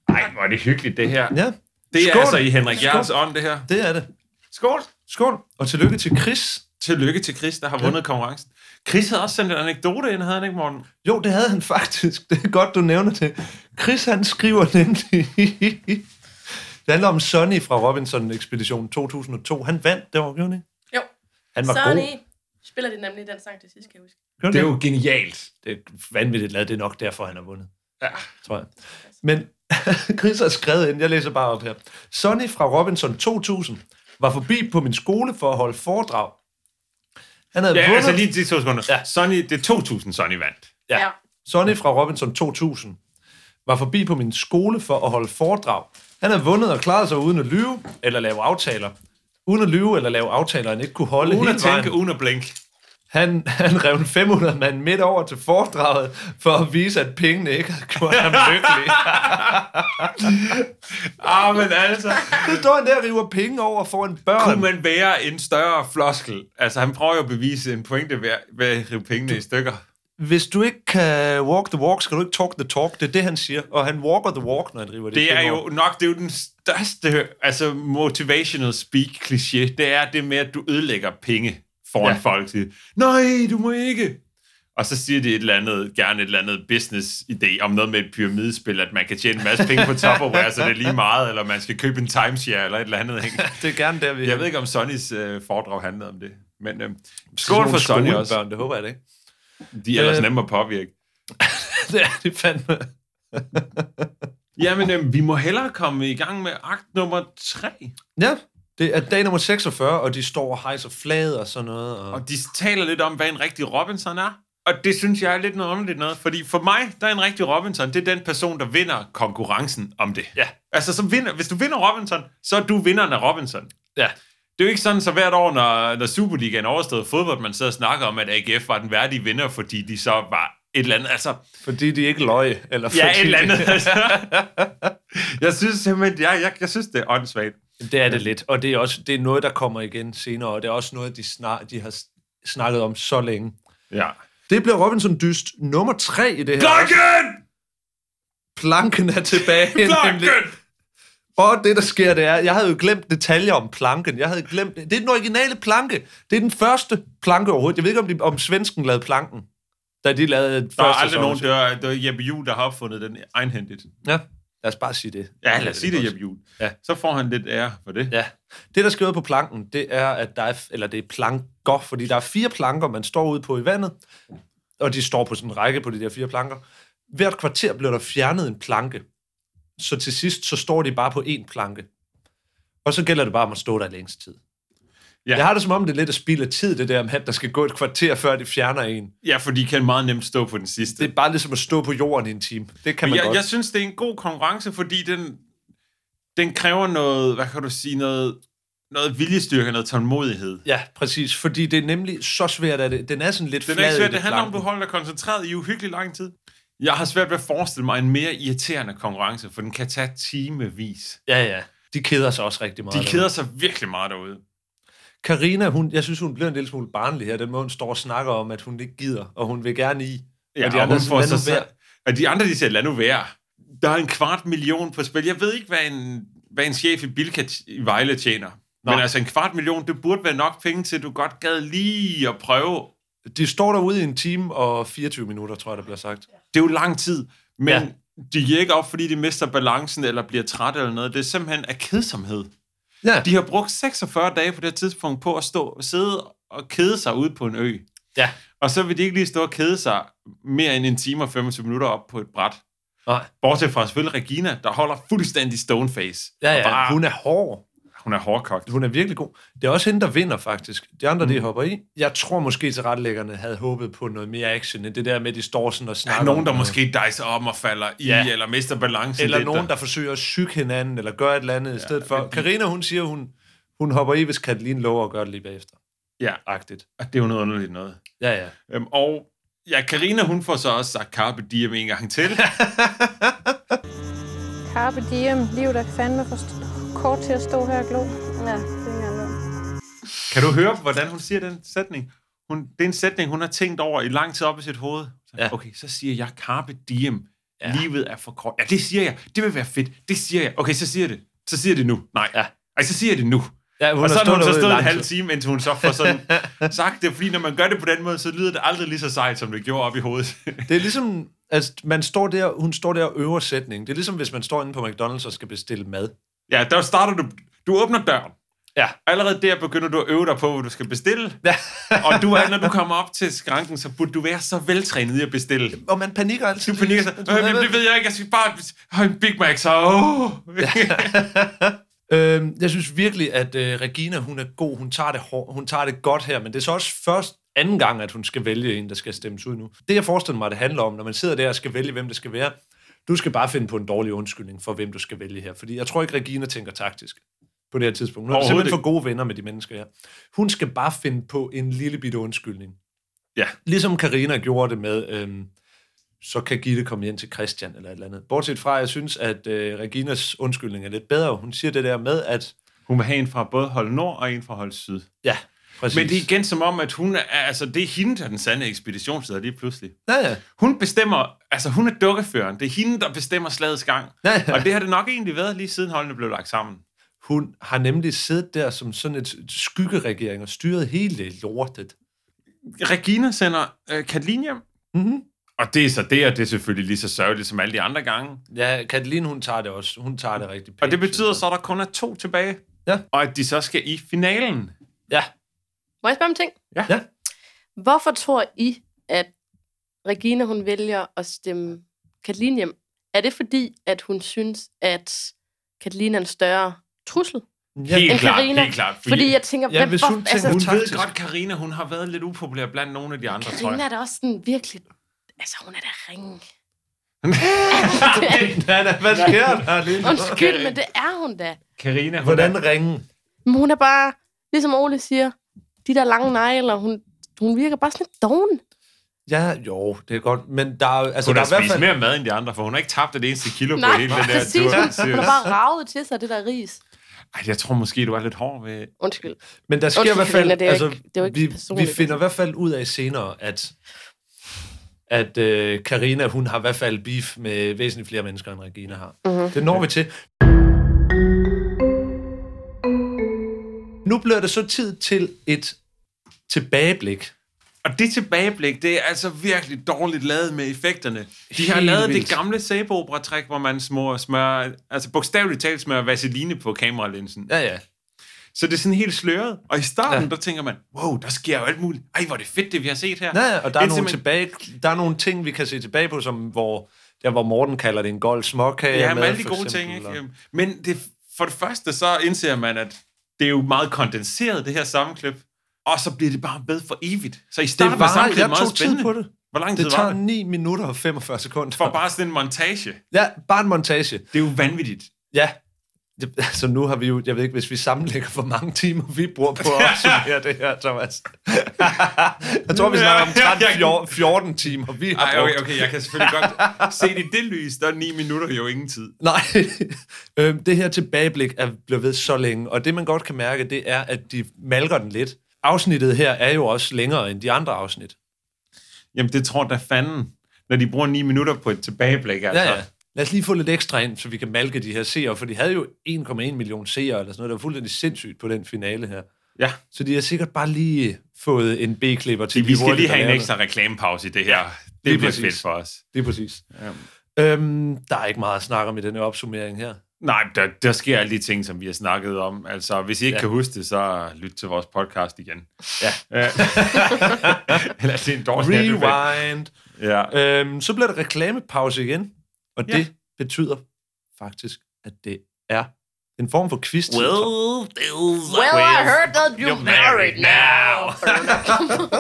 S1: Ej, hvor er det hyggeligt, det her.
S2: Ja,
S1: Det er
S2: Skål.
S1: altså i Henrik
S2: Skål.
S1: Jørgens ånd, det her.
S2: det er det.
S1: Skål!
S2: Skål. Og tillykke til Chris.
S1: Tillykke til Chris, der har vundet konkurrencen. Chris havde også sendt en anekdote ind, havde han ikke, Morten?
S2: Jo, det havde han faktisk. Det er godt, du nævner det. Chris, han skriver nemlig... det handler om Sonny fra Robinson-ekspeditionen 2002. Han vandt, det var gjorde han ikke?
S9: Jo.
S2: Han var
S9: Sådan
S2: god.
S9: I spiller det nemlig den sang til sidst, kan jeg huske.
S2: Gjorde han
S1: Det er
S2: ikke?
S1: jo genialt.
S2: det er vanvittigt lavet. Det er nok derfor, han har vundet.
S1: Ja.
S2: Tror jeg. Men Chris har skrevet ind, jeg læser bare op her. Sonny fra Robinson 2000 var forbi på min skole for at holde foredrag. Han havde
S1: Ja,
S2: vundet...
S1: altså lige de to sekunder.
S2: Ja.
S1: Ja. Sonny, det er 2000, Sonny vandt.
S2: Ja. Sonny fra Robinson 2000 var forbi på min skole for at holde foredrag. Han havde vundet og klaret sig uden at lyve eller lave aftaler. Uden at lyve eller lave aftaler, han ikke kunne holde
S1: Uden at
S2: hele vejen.
S1: tænke, uden at blinke.
S2: Han, han rev en 500 mand midt over til foredraget, for at vise, at pengene ikke havde gjort ham lykkelig.
S1: Ah, men altså,
S2: Så står han der og river penge over foran børn.
S1: kunne man være en større floskel? Altså, han prøver jo at bevise en pointe ved, ved at rive pengene i stykker.
S2: Hvis du ikke kan walk the walk, skal du ikke talk the talk. Det er det, han siger. Og han walker the walk, når han river de
S1: Det er
S2: penge
S1: jo
S2: over.
S1: nok, det er jo den største altså motivational speak kliché. Det er det med, at du ødelægger penge foran
S2: Ja.
S1: ja. folk. Siger, Nej, du må ikke. Og så siger de et eller andet, gerne et eller andet business-idé om noget med et pyramidespil, at man kan tjene en masse penge på Tupperware, så det er lige meget, eller man skal købe en timeshare eller et eller andet. Ikke?
S2: Det er gerne der, vi
S1: Jeg ved ikke, om Sonnys øh, foredrag handlede om det. Men øh,
S2: Sådan
S1: skål
S2: nogle
S1: for Sonny også.
S2: skolebørn, Det håber jeg det ikke.
S1: De er ellers
S2: Øh.
S1: nemme at påvirke.
S2: det er det fandme.
S1: Jamen, øh, vi må hellere komme i gang med akt nummer tre.
S2: Ja, det er dag nummer 46, og de står og hejser flade og sådan noget. Og...
S1: Og de taler lidt om, hvad en rigtig Robinson er. Og det synes jeg er lidt noget underligt noget, fordi for mig, der er en rigtig Robinson, det er den person, der vinder konkurrencen om det.
S2: Ja.
S1: Altså, som vinder, hvis du vinder Robinson, så er du vinderen af Robinson.
S2: Ja.
S1: Det er jo ikke sådan, så hvert år, når, når Superligaen overstod fodbold, man sidder og snakker om, at AGF var den værdige vinder, fordi de så var et eller andet. Altså,
S2: Fordi de ikke løg. Eller
S1: ja,
S2: fordi
S1: et eller andet.
S2: de-
S1: Altså. Jeg synes simpelthen, jeg, jeg, jeg synes, det er åndssvagt.
S2: Det er det lidt, og det er også det er noget, der kommer igen senere, og det er også noget, de, snak, de har s- snakket om så længe.
S1: Ja.
S2: Det bliver Robinson Dyst nummer tre i det her.
S1: Blokken!
S2: Planken er tilbage. nemlig.
S1: Blokken!
S2: Og det, der sker, det er, jeg havde jo glemt detaljer om planken. Jeg havde glemt, det er den originale planke. Det er den første planke overhovedet. Jeg ved ikke, om, de, om svensken lavede planken, da de lavede den
S1: Der er
S2: første
S1: aldrig nogen,
S2: sæson.
S1: det var, det var Jeppe Juhl, der har opfundet den egenhændigt.
S2: Ja, lad os bare sige det.
S1: Ja, lad os sige det, Jeppe Juhl.
S2: Ja.
S1: Ja. Så får han lidt ære for det.
S2: Ja. Det, der skriver på planken, det er, at der er, eller det er planker, fordi der er fire planker, man står ude på i vandet, og de står på sådan en række på de der fire planker. Hvert kvarter bliver der fjernet en planke. Så til sidst, så står de bare på én planke. Og så gælder det bare om at stå der i længst tid. Ja.
S1: Ja.
S2: Jeg har det som om, det er lidt at spille af tid, det der med, at der skal gå et kvarter, før de fjerner en.
S1: ja, for de kan meget nemt stå på den sidste.
S2: Det er bare ligesom at stå på jorden i en time. Det kan man
S1: jeg,
S2: godt.
S1: jeg synes, det er en god konkurrence, fordi den, den kræver noget, hvad kan du sige, noget, noget viljestyrke, noget tålmodighed.
S2: Ja, præcis. Fordi det er nemlig så svært, at det, den er sådan lidt
S1: Den
S2: flad
S1: er ikke
S2: i
S1: svært,
S2: det
S1: det handler om, at
S2: planken.
S1: du holder dig koncentreret i uhyggelig lang tid. Jeg har svært ved at forestille mig en mere irriterende konkurrence, for den kan tage timevis.
S2: Ja, ja. De keder sig også rigtig meget.
S1: De
S2: derude.
S1: keder sig virkelig meget derude.
S2: Karina, hun, jeg synes, hun bliver en lille smule barnlig her. Den måde, hun står og snakker om, at hun ikke gider, og hun vil gerne i.
S1: Ja,
S2: og
S1: og
S2: de andre
S1: hun
S2: sådan,
S1: får
S2: "Lad nu
S1: sig selv-
S2: være."
S1: Og de andre, de siger, lad nu være. Der er en kvart million på spil. Jeg ved ikke, hvad en, hvad en chef i Bilka t- i Vejle tjener.
S2: Nå.
S1: Nå. Men altså en kvart million, det burde være nok penge til, at du godt gad lige at prøve.
S2: De står derude i en time og 24 minutter, tror jeg, der bliver sagt.
S1: Det er jo lang tid. Men
S2: Ja.
S1: ja. de giver ikke op, fordi de mister balancen eller bliver træt eller noget. Det er simpelthen af kedsomhed.
S2: Ja.
S1: De har brugt 46 dage på det her tidspunkt på at stå, sidde og kede sig ude på en ø.
S2: Ja.
S1: Og så vil de ikke lige stå og kede sig mere end en time og 25 minutter op på et bræt.
S2: Nej.
S1: Bortset fra selvfølgelig Regina, der holder fuldstændig stone face.
S2: Ja,
S1: Og
S2: ja.
S1: bare,
S2: Hun er hård.
S1: hun er hårdkogt.
S2: Hun er virkelig god. Det er også hende, der vinder, faktisk. De andre, mm. de hopper i. Jeg tror måske, til retlæggerne havde håbet på noget mere action, end det der med, de står sådan og
S1: Der
S2: snakker.
S1: er nogen, der
S2: om noget.
S1: måske dejser om og falder i,
S2: Ja.
S1: ja. eller mister balancen.
S2: Eller
S1: lidt,
S2: nogen, der forsøger at syge hinanden, eller gøre et eller andet ja, i stedet for.
S1: men de-
S2: Karina, hun siger, hun, hun hopper i, hvis Katalin lover at gøre det lige bagefter.
S1: Ja,
S2: Agtigt.
S1: og det er jo noget underligt noget.
S2: Ja, ja.
S1: Øhm, og ja, Karina hun får så også sagt Carpe Diem en gang til.
S12: Carpe diem. Livet er fandme for st- kort til at stå her og glo. Ja, det er noget.
S1: kan du høre, hvordan hun siger den sætning? Hun, det er en sætning, hun har tænkt over i lang tid op i sit hoved. Så, ja. Okay, så siger jeg Carpe Diem. Ja. Livet er for kort. Ja, det siger jeg. Det vil være fedt. Det siger jeg. Okay, så siger jeg det. Så siger jeg det nu. Nej.
S2: Ja.
S1: Ej, så siger jeg det nu.
S2: Ja, hun
S1: og
S2: har
S1: så har hun
S2: stået
S1: så
S2: derude i
S1: stået en
S2: lang
S1: halv
S2: tid.
S1: time, indtil hun så får sådan sagt det. Fordi når man gør det på den måde, så lyder det aldrig lige så sejt, som det gjorde op i hovedet.
S2: Det er ligesom, altså, man står der, hun står der og øver sætningen. Det er ligesom, hvis man står inde på McDonald's og skal bestille mad.
S1: Ja, der starter du... Du åbner døren.
S2: Ja.
S1: Allerede der begynder du at øve dig på, hvad du skal bestille.
S2: Ja.
S1: og du er, når du kommer op til skranken, så burde du være så veltrænet i at bestille.
S2: Og man panikker altid.
S1: Du panikker så. Øh, men det ved jeg ikke. Jeg skal bare have en Big Mac, så... Åh.
S2: Øhm, jeg synes virkelig, at øh, Regina, hun er god. Hun tager, det hår, hun tager det godt her, men det er så også først anden gang, at hun skal vælge en, der skal stemmes ud nu. Det, jeg forestiller mig, det handler om, når man sidder der og skal vælge, hvem det skal være. Du skal bare finde på en dårlig undskyldning for, hvem du skal vælge her. Fordi jeg tror ikke, Regina tænker taktisk på det her tidspunkt. Hun er
S1: Overhovedet
S2: simpelthen for
S1: ikke.
S2: gode venner med de mennesker her. Hun skal bare finde på en lille bitte undskyldning.
S1: Ja.
S2: Ligesom Karina gjorde det med, øhm, så kan Gitte komme hjem til Christian eller et eller andet. Bortset fra, at jeg synes, at øh, Reginas undskyldning er lidt bedre. Hun siger det der med, at
S1: Hun vil have en fra både hold nord og en fra hold syd.
S2: ja, præcis.
S1: Men det er igen som om, at hun er, altså, det er hende, der er den sande ekspeditionsleder lige pludselig.
S2: Ja, ja.
S1: Hun bestemmer, altså hun er dukkeføreren. Det er hende, der bestemmer slagets gang.
S2: Ja, ja.
S1: Og det har det nok egentlig været, lige siden holdene blev lagt sammen.
S2: Hun har nemlig siddet der som sådan et skyggeregering og styret hele det lortet.
S1: Regina sender øh, Katalin hjem.
S2: Mm-hmm.
S1: Og det er så det, og det er selvfølgelig lige så sørgeligt som alle de andre gange.
S2: Ja, Katalin, hun tager det også. Hun tager det rigtig pænt.
S1: Og det betyder så, at der kun er to tilbage.
S2: Ja.
S1: Og at de så skal i finalen.
S2: Ja.
S9: Må jeg spørge om en ting?
S1: Ja.
S2: Ja.
S9: Hvorfor tror I, at Regina hun vælger at stemme Katalin hjem? Er det fordi, at hun synes, at Katalin er en større trussel?
S1: Helt
S9: end
S1: klart,
S9: Carina?
S1: helt klart, fordi-
S9: Fordi, jeg tænker,
S2: Ja,
S9: ja,
S2: hvis
S9: hvor,
S2: hun tænker,
S9: altså,
S1: Hun
S2: taktisk.
S1: ved godt, Karina, hun har været lidt upopulær blandt nogle af de andre, tror
S9: Karina
S1: jeg.
S9: er da også sådan virkelig... Altså, hun er da ringe.
S2: Nana, hvad sker der lige nu?
S9: Undskyld, men det er hun da.
S1: Karina, hun
S2: Hvordan ringe?
S9: Men hun er bare, ligesom Ole siger, de der lange negler, hun, hun virker bare sådan lidt doven.
S2: Ja, jo, det er godt. Men der er, altså,
S1: hun
S2: der
S1: har
S2: er i hvert
S1: spist
S2: fald...
S1: mere mad end de andre, for hun har ikke tabt et eneste kilo på
S9: Nej,
S1: hele den der
S9: præcis.
S1: tur.
S9: Hun har bare ravet til sig det der ris.
S1: Ej, jeg tror måske, du er lidt hård ved...
S9: Undskyld.
S2: Men der sker i
S9: Undskyld,
S2: hvert fald,
S9: Karina, det er
S2: altså,
S9: ikke- det er jo ikke
S2: vi, vi
S9: personligt.
S2: finder i hvert fald ud af senere, at at øh, Karina hun har i hvert fald beef med væsentligt flere mennesker, end Regina har.
S9: Mhm.
S2: Det når vi til. Nu bliver det så tid til et tilbageblik.
S1: Og det tilbageblik, det er altså virkelig dårligt lavet med effekterne. De har
S2: Helt
S1: lavet
S2: vildt.
S1: det gamle sæbeopera-træk, hvor man smører, smører, altså bogstaveligt talt smører vaseline på kameralinsen.
S2: Ja, ja.
S1: Så det er sådan helt sløret. Og i starten,
S2: Ja.
S1: ja. der tænker man, wow, der sker jo alt muligt. Ej, hvor er det fedt, det vi har set her.
S2: ja og der er,
S1: Indtil
S2: nogle
S1: man-
S2: tilbage, der er nogle ting, vi kan se tilbage på, som hvor, der hvor Morten kalder det en gold småkage.
S1: Ja,
S2: med,
S1: med alle de
S2: for
S1: gode
S2: eksempel,
S1: ting.
S2: og-
S1: Ikke? Øhm, Men det, for det første, så indser man, at det er jo meget kondenseret, det her sammenklip. Og så bliver det bare ved for evigt. Så i starten
S2: varer-
S1: var sammenklippet
S2: jeg
S1: meget
S2: tog tid
S1: spændende.
S2: på det.
S1: Hvor lang tid
S2: Det
S1: var
S2: tager
S1: det?
S2: 9 minutter og 45 sekunder.
S1: For bare sådan en montage.
S2: Ja, bare en montage.
S1: Det er jo vanvittigt.
S2: Ja. Det, altså nu har vi jo, jeg ved ikke, hvis vi sammenlægger, hvor mange timer vi bruger på at opsummere det her, Thomas. jeg tror, vi snakker om 13, 14 timer, vi har
S1: Ej,
S2: brugt.
S1: okay, okay, jeg kan selvfølgelig godt se det i det lys. Der er ni minutter jo ingen tid.
S2: Nej, øhm, det her tilbageblik er blevet ved så længe, og det man godt kan mærke, det er, at de malker den lidt. Afsnittet her er jo også længere end de andre afsnit.
S1: Jamen, det tror da fanden, når de bruger ni minutter på et tilbageblik. Altså.
S2: Ja, ja. Lad os lige få lidt ekstra ind, så vi kan malke de her seere, for de havde jo 1,1 million seere eller sådan noget. Det var fuldstændig sindssygt på den finale her.
S1: ja.
S2: Så de har sikkert bare lige fået en B-klipper til.
S1: Vi
S2: de
S1: skal
S2: hurtigt
S1: lige have en
S2: derinde.
S1: ekstra reklamepause i det her.
S2: lige
S1: Det bliver
S2: præcis.
S1: fedt for os.
S2: Det er præcis. Øhm, der er ikke meget at snakke om i den her opsummering her.
S1: Nej, der, der sker alle de ting, som vi har snakket om. Altså, hvis I ikke
S2: Ja.
S1: ja. kan huske det, så lyt til vores podcast igen.
S2: Ja.
S1: Eller det er en dårlig
S2: Rewind.
S1: Ja.
S2: Øhm, så bliver der reklamepause igen, og det betyder faktisk, at det er en form for quiz.
S9: Well, I heard that you
S2: You're married
S9: married now.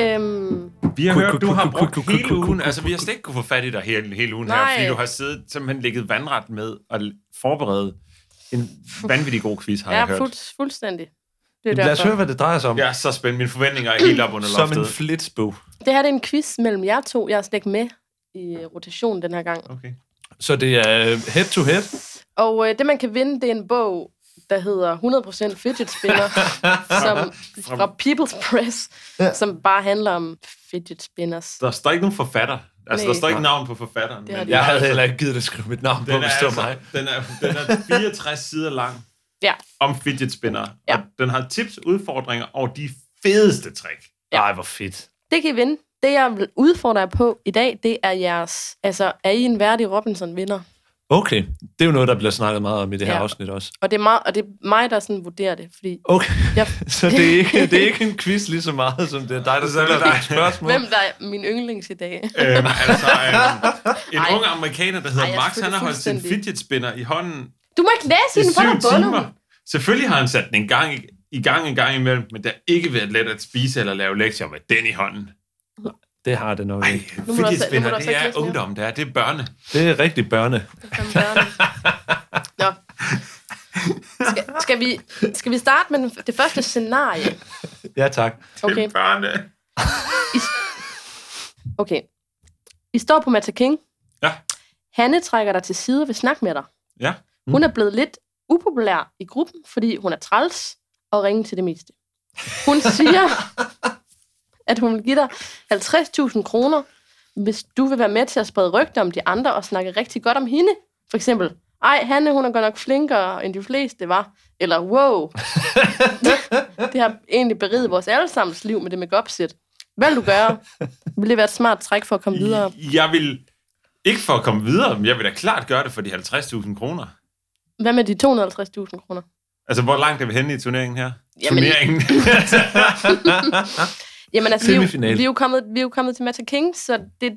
S9: Øhm,
S1: Vi har
S2: Ku-
S1: hørt,
S2: ku-
S1: du har
S2: ku- ku-
S1: brugt
S2: ku- ku-
S1: hele
S2: ku- ku-
S1: ugen. Altså, vi har slet ikke kunne få fat i dig hele, hele ugen her,
S9: Nej.
S1: fordi du har siddet simpelthen ligget vandret med at l- forberede en vanvittig god quiz, har jeg
S9: ja,
S1: hørt.
S9: fuld, fuldstændig. Det, er
S1: Jamen, lad os
S9: derfor.
S1: høre,
S2: Hvad det drejer sig om?
S1: Jeg er så spændt. Mine forventninger er helt op under
S2: Som
S1: loftet.
S2: en flitsbog.
S9: det her det er en quiz mellem jer to. Jeg er slet ikke med i øh, rotationen den her gang.
S1: Okay.
S2: Så det er øh, head to head.
S9: Og øh, det, man kan vinde, det er en bog, der hedder 100% Fidget Spinner, som, fra People's Press, ja. som bare handler om fidget spinners.
S1: Der står ikke nogen forfatter. Altså,
S9: Nej.
S1: der står ikke navn på forfatteren.
S9: Det har
S1: men-
S9: de Jeg ikke.
S2: havde heller ikke givet det skrive mit navn på,
S1: Den er
S2: hvis det var
S1: altså-
S2: mig.
S1: Den er, den er 64 sider lang
S9: Ja.
S1: om fidget spinner. Ja. Og den har tips, udfordringer og de fedeste trick.
S9: Ja.
S2: Ej, hvor fedt.
S9: Det kan I vinde. Det, jeg vil udfordre jer på i dag, det er jeres... Altså, er I en værdig Robinson-vinder?
S2: Okay, det er jo noget, der bliver snakket meget om i det her
S9: Ja.
S2: ja. afsnit også.
S9: Og det, er meget, og det er mig, der sådan vurderer det, fordi...
S2: Okay,
S9: jeg,
S2: så det er ikke, det er ikke en quiz lige så meget, som det er dig, der stiller dig et spørgsmål.
S9: Hvem der er min yndlings i dag?
S1: Øhm, altså, øhm, en Ej. ung amerikaner, der hedder
S9: Ej,
S1: Ej,
S9: jeg
S1: Max, han har holdt sin
S9: fuldstændig-
S1: fidget spinner i hånden
S9: Du må ikke
S1: i
S9: læse hende, for der
S1: syv
S9: er bundet.
S1: timer. Selvfølgelig har han sat den en gang, i- i gang en gang imellem, men det har ikke været let at spise eller lave lektier med den i hånden.
S2: Det har det nok ikke.
S9: må du også- nu må du
S1: Fidget spinner,
S9: også
S1: det
S9: ikke
S1: er
S9: læse mere.
S1: ungdom, det er, det er børne.
S2: Det er rigtig børne.
S9: Skal, skal, vi, skal vi starte med den, det første scenarie?
S2: Ja, tak.
S9: Okay.
S1: børne.
S9: Okay. I står på Mata King.
S1: Ja.
S9: Hanne trækker dig til side og vil snakke med dig.
S1: Ja.
S9: Hun er blevet lidt upopulær i gruppen, fordi hun er træls og ringer til det meste. Hun siger, at hun vil give dig 50.000 kroner, hvis du vil være med til at sprede rygter om de andre og snakke rigtig godt om hende. For eksempel, ej, Hanne, hun er godt nok flinkere end de fleste, var. Eller, wow, det har egentlig beriget vores allesammens liv med det make sæt Hvad vil du gøre? Vil det være et smart træk for at komme videre?
S1: Jeg vil ikke for at komme videre, men jeg vil da klart gøre det for de 50.000 kroner.
S9: Hvad med de 250.000 kroner?
S1: Altså, hvor langt er vi henne i turneringen her?
S9: Jamen-
S1: Turneringen.
S9: Jamen altså, vi, er jo-
S1: Semifinale.
S9: vi, er jo kommet, vi er jo kommet til Matcha King, så det, det,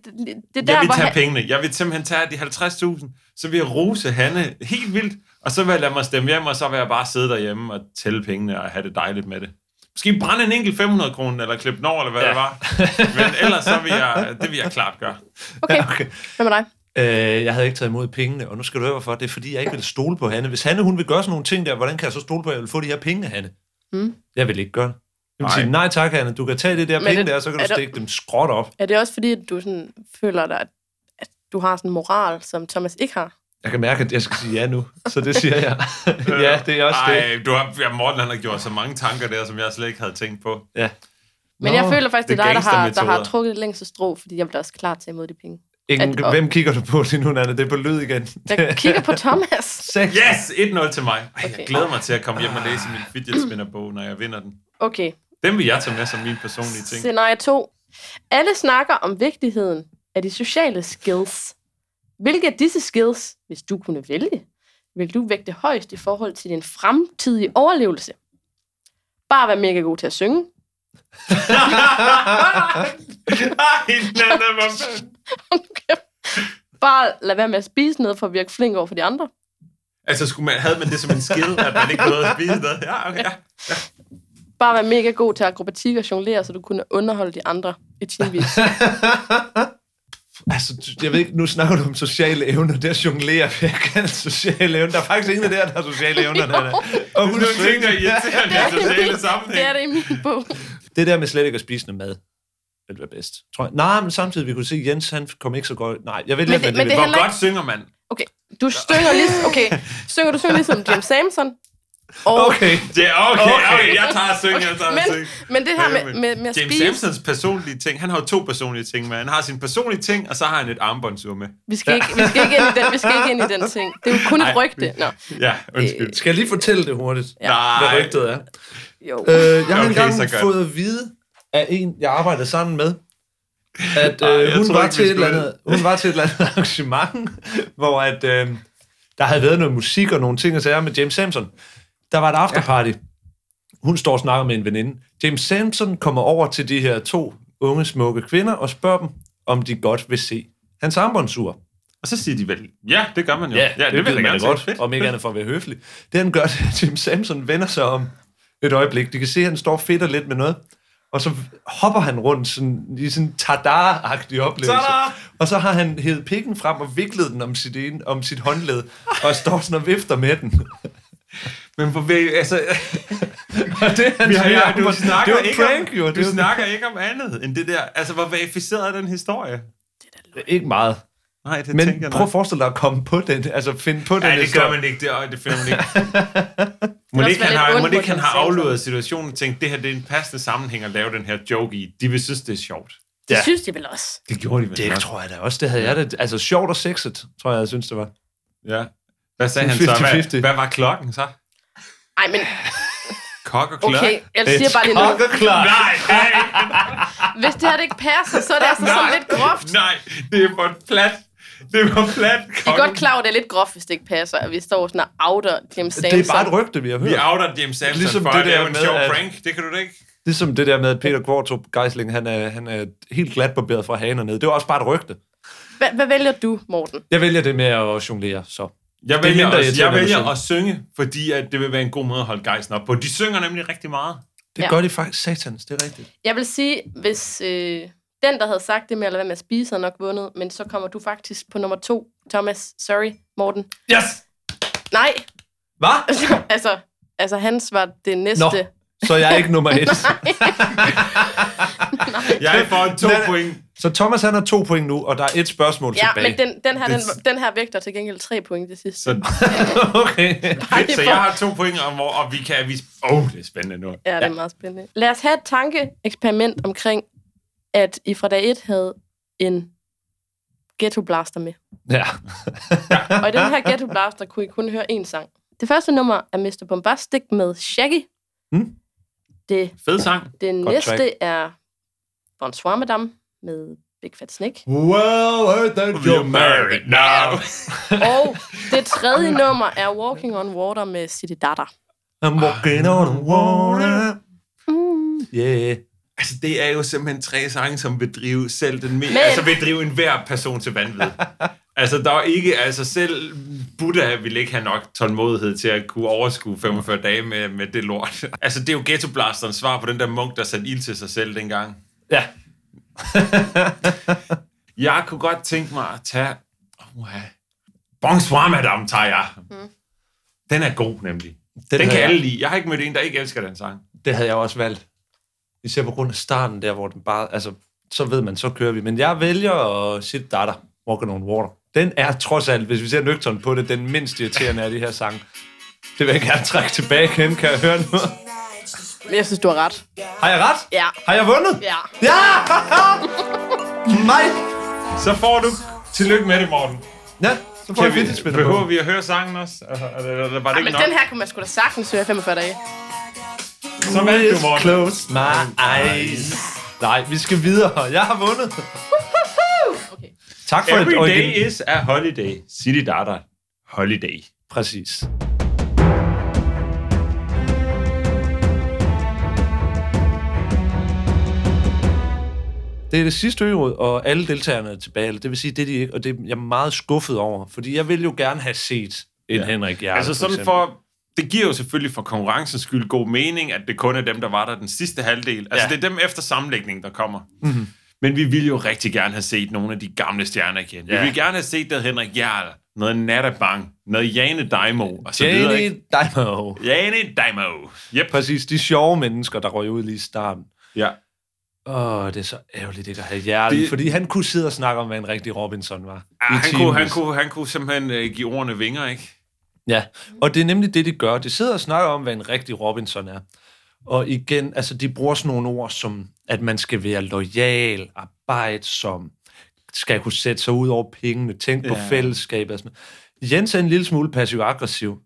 S9: det er der,
S1: jeg vil
S9: hvor...
S1: tage
S9: han-
S1: pengene. Jeg vil simpelthen tage de 50.000, så vil jeg rose Hanne helt vildt, og så vil jeg lade mig stemme hjem, og så vil jeg bare sidde derhjemme og tælle pengene og have det dejligt med det. Måske brænde en enkelt 500 kroner, eller klippe den over, eller hvad ja. det var. Men ellers så vil jeg, det vil jeg klart gøre.
S9: Okay. Hvad med dig?
S2: Øh, jeg havde ikke taget imod pengene, og nu skal du høre, hvorfor. Det er, fordi jeg ikke vil stole på Hanne. Hvis Hanne hun vil gøre sådan nogle ting der, hvordan kan jeg så stole på, at jeg vil få de her penge af Hanne?
S9: Mm.
S2: Jeg vil ikke gøre det. Jeg vil sige, nej tak, Hanne, du kan tage det der
S9: Men
S2: penge
S9: det-
S2: der, så kan
S9: er
S2: du
S9: der-
S2: stikke dem skråt op.
S9: Er det også fordi, at du sådan føler dig, at, at du har sådan en moral, som Thomas ikke har?
S2: Jeg kan mærke, at jeg skal sige ja nu, så det siger jeg. ja, det er også det.
S1: Ej, du har, ja, Morten han har gjort så mange tanker der, som jeg slet ikke havde tænkt på.
S2: Ja.
S9: Men jeg føler faktisk, det er dig, der har, der har
S1: gangstermetoder.
S9: trukket det længste strå, fordi jeg bliver også klar til at imod de penge.
S2: Ingen,
S9: At-
S2: hvem kigger du på lige nu, Nanne? Det er på lyd igen.
S9: Jeg kigger på Thomas.
S1: Yes! 1-0 til mig. Ej,
S9: Okay.
S1: jeg glæder mig til at komme hjem og læse min fidget spinner bog, når jeg vinder den.
S9: Okay,
S1: Den vil jeg tage med som min personlige ting.
S9: scenarie 2. Alle snakker om vigtigheden af de sociale skills. Hvilke af disse skills, hvis du kunne vælge, vil du vægte højst i forhold til din fremtidige overlevelse? Bare være mega god til at synge.
S1: Ej, Nana, hvor fanden.
S9: Bare lad være med at spise noget for at virke flink over for de andre.
S1: Altså, skulle man, havde man det som en skill, at man ikke nåede at spise noget? Ja, okay. Ja.
S9: Bare være mega god til akrobatik og jonglere, så du kunne underholde de andre i timevis.
S2: Altså, du- jeg ved ikke, nu snakker du om sociale evner. Der jonglerer jeg kan sociale evner. Der er faktisk ingen af der, der har sociale evner, Nanne. Og hun
S1: Det er sådan nogle ting, der irriterer
S2: synger.
S1: Det er i sociale
S9: det er
S1: sammenhæng.
S9: det i min bog.
S2: Det der med slet ikke at spise noget mad, det var bedst. Tror jeg. Nej, men samtidig, vi kunne se, at Jens han kom ikke så godt. Nej, jeg ved
S9: Men
S2: ikke,
S9: det-
S2: hvad
S9: men det er
S2: Hvor
S9: heller
S2: godt
S9: ikke-
S1: synger man?
S9: Okay, du synger lige, okay, synger, du synger ligesom James Samson, Og-
S1: Okay. Det er okay, okay. okay. Jeg tager at synge, jeg tager at
S9: Men-
S1: synge.
S9: men det her
S1: Hvad
S9: med- med- med at
S1: James
S9: spise-
S1: Samsons personlige ting, han har jo to personlige ting med. Han har sin personlige ting, og så har han et armbåndsur med.
S9: Vi skal, ikke, vi, skal ikke ind i den, vi skal ikke ind i den ting. Det er jo kun et
S1: Ej.
S9: rygte. Nå.
S1: Ja, undskyld.
S2: Skal jeg lige fortælle det hurtigt,
S9: Ja. Nej.
S2: hvad rygtet er?
S9: Jo.
S2: Øh, jeg har
S1: Okay,
S2: okay,
S1: så
S2: engang
S1: godt.
S2: fået at vide af en, jeg arbejdede sammen med, at
S1: Ej, jeg
S2: øh, hun,
S1: tror
S2: var
S1: ikke, vi
S2: til et
S1: skulle
S2: eller andet, hun var til et eller andet arrangement, hvor at, øh, der havde været noget musik og nogle ting og sager med James Samson. Der var et afterparty. Hun står og snakker med en veninde. James Samson kommer over til de her to unge, smukke kvinder og spørger dem, om de godt vil se hans armbåndsur.
S1: Og så siger de vel, ja, det gør man jo.
S2: Ja, ja det, det
S1: vil
S2: ved
S1: jeg
S2: man
S1: gerne
S2: da
S1: se.
S2: godt,
S1: Fedt,
S2: om ikke
S1: fedt.
S2: andet for at være høflig. Det han gør, det er, at Jim Samson vender sig om et øjeblik. De kan se, at han står og fedter lidt med noget. Og så hopper han rundt sådan, i sådan en tada-agtig oplevelse.
S1: Tada!
S2: Og så har han hævet pikken frem og viklet den om sit, ene, om sit håndled, og står sådan og vifter med den.
S1: Men hvor vil altså...
S2: og det er hans
S1: Vi har,
S2: nye
S1: ja, du
S2: armbånd.
S1: snakker
S2: det er jo
S1: ikke
S2: prank,
S1: om,
S2: jo.
S1: Du
S2: Det er jo-
S1: snakker ikke om andet end det der. Altså, hvor verificeret er den historie?
S2: Ikke meget.
S1: Nej, det
S2: Men
S1: tænker jeg
S2: prøv at
S1: nok.
S2: forestille dig at komme på den, altså finde på den.
S1: Nej, det gør
S2: historie.
S1: man ikke. Det, øj, det finder man ikke.
S2: Det
S1: Må
S2: kan
S1: ikke
S2: også
S1: han
S2: være lidt
S1: har, må
S2: ondt på
S1: ikke han
S2: den
S1: har
S2: selv,
S1: afløret situationen og tænkt, det her det er en passende sammenhæng at lave den her joke i. De vil synes, det er sjovt.
S9: Det ja. synes de vel også.
S1: Det gjorde de vel
S2: Det
S1: nok.
S2: tror jeg da også. Det havde jeg da. Altså sjovt og sexet, tror jeg, jeg synes, det var.
S1: Ja. Hvad sagde han så?
S2: 50-50.
S1: Hvad, hvad var klokken så?
S9: Ej, men
S1: Kok og klør?
S9: okay, jeg siger bare lige
S1: Kok og klør.
S9: noget.
S1: Nej, nej,
S9: Hvis det her det ikke passer, så er det altså sådan lidt groft.
S1: nej. Det er for plat. Det er for plat.
S9: I er godt klar over, at det er lidt groft, hvis det ikke passer, at vi står sådan og outer Jim Samson.
S2: rygte, vi har
S1: Vi outer James Samson ligesom for det der at lave en sjov prank. Det kan du da ikke.
S2: Ligesom det der med, at Peter Kvartrup Geisling, han er, han er helt glatbarberet fra hagen og ned. Det var også bare et rygte.
S9: Hvad, hvad vælger du, Morten?
S2: Jeg vælger det med at jonglere, så.
S1: Jeg vælger,
S2: mindre
S1: også, jeg
S2: irriterende,
S1: vælger
S2: end
S1: at synge, fordi at det vil være en god måde at holde gejsen op på. De synger nemlig rigtig meget.
S2: Det
S9: Ja.
S2: gør de faktisk satans, det er rigtigt.
S9: Jeg vil sige, hvis øh, den, der havde sagt det med at lade være med at spise, havde nok vundet, men så kommer du faktisk på nummer to, Thomas. Sorry, Morten.
S2: Yes!
S9: Nej,
S2: Hvad?
S9: altså, altså hans var det næste.
S2: Nå, så jeg er ikke nummer et.
S1: Jeg får to point.
S2: Så Thomas han har to point nu, og der er et spørgsmål
S9: Ja,
S2: tilbage.
S9: men den, den, her, den,
S2: Det-
S9: den her vægter til gengæld tre point det sidste.
S1: Så,
S2: okay.
S1: Fedt, så jeg har to point, og, hvor, og vi kan... Vi, åh, oh, det er spændende nu.
S9: Ja, det er meget spændende. Lad os have et tankeeksperiment omkring, at I fra dag 1 havde en ghetto blaster med.
S2: Ja.
S9: Og i den her ghetto blaster kunne I kun høre én sang. Det første nummer er Mr. Bombastic med Shaggy.
S2: Mm.
S9: Det,
S1: Fed sang.
S9: det
S1: Godt
S9: næste
S1: track.
S9: er Bonsoir Madame med Big Fat Snake.
S2: Well, heard that
S1: you're married now.
S9: Og det tredje nummer er Walking on Water med City Dada.
S2: I'm walking on the water. Yeah.
S1: Altså, det er jo simpelthen tre sange, som vil drive selv den mere...
S9: Men-
S1: Altså, vil drive enhver person til vanvid. altså, der er ikke... Altså, selv Buddha ville ikke have nok tålmodighed til at kunne overskue 45 dage med, med det lort. altså, det er jo ghettoblasteren svar på den der munk, der satte ild til sig selv dengang.
S2: Ja.
S1: jeg kunne godt tænke mig at tage... Oh, Bonsoir, madame, tager jeg. Mm.
S9: Mhm.
S1: Den er god, nemlig. Den, den
S2: havde
S1: kan
S2: jeg.
S1: alle lide. Jeg har ikke mødt en, der ikke elsker den sang.
S2: Det havde jeg også valgt. Især på grund af starten der, hvor den bare... Altså, så ved man, så kører vi. Men jeg vælger at sit datter, Walking on Water. Den er trods alt, hvis vi ser nøgteren på det, den mindst irriterende af de her sange. Det vil jeg gerne trække tilbage igen, kan jeg høre nu.
S9: Men jeg synes, du har ret.
S2: Har jeg ret?
S9: Ja.
S2: Har jeg vundet?
S9: Ja.
S2: Ja! Nej!
S1: Så får du... Tillykke med det, Morten.
S2: Ja, så får
S1: Kan
S2: jeg
S1: vi,
S2: fidget spinner
S1: behøver
S2: på.
S1: vi at høre sangen også? Altså, er det, er det, var det
S9: Ej,
S1: ikke
S9: men
S1: nok?
S9: den her kunne man sgu da sagtens høre i 45 dage.
S1: Så vandt du, Morten.
S2: Close my eyes. Nej, vi skal videre. Jeg har vundet.
S9: Okay.
S2: Tak for et
S1: Every
S2: origin-
S1: day is a holiday. City Data. Holiday.
S2: Præcis. Det er det sidste øråd, og alle deltagerne er tilbage. eller Det vil sige, det er de ikke, og det er jeg er meget skuffet over. Fordi jeg vil jo gerne have set en ja. Henrik Jarl,
S1: altså sådan
S2: eksempel.
S1: for... Det giver jo selvfølgelig for konkurrencens skyld god mening, at det kun er dem, der var der den sidste halvdel. Altså,
S2: Ja.
S1: det er dem efter sammenlægningen, der kommer.
S2: Mhm.
S1: Men vi ville jo rigtig gerne have set nogle af de gamle stjerner igen. Vi
S2: Ja.
S1: ville gerne have set der Henrik Jarl, noget Natta Bang, noget Jane Daimo, og så videre.
S2: Jane
S1: ikke?
S2: Daimo.
S1: Jane Daimo. Yep.
S2: Præcis, de sjove mennesker, der røg ud lige i starten.
S1: Ja.
S2: Åh, det er så ærgerligt ikke at have Jarl,
S1: Det-
S2: det... fordi han kunne sidde og snakke om, hvad en rigtig Robinson var.
S1: Ah,
S2: i
S1: han, kunne, han,
S2: timevis.
S1: kunne, han kunne simpelthen øh, give ordene vinger, ikke?
S2: Ja, og det er nemlig det, de gør. De sidder og snakker om, hvad en rigtig Robinson er. Og igen, altså de bruger sådan nogle ord som, at man skal være lojal, arbejdsom, skal kunne sætte sig ud over pengene, tænke ja. på
S13: Ja.
S2: fællesskabet. og sådan noget. Jens er en lille smule passiv-aggressiv.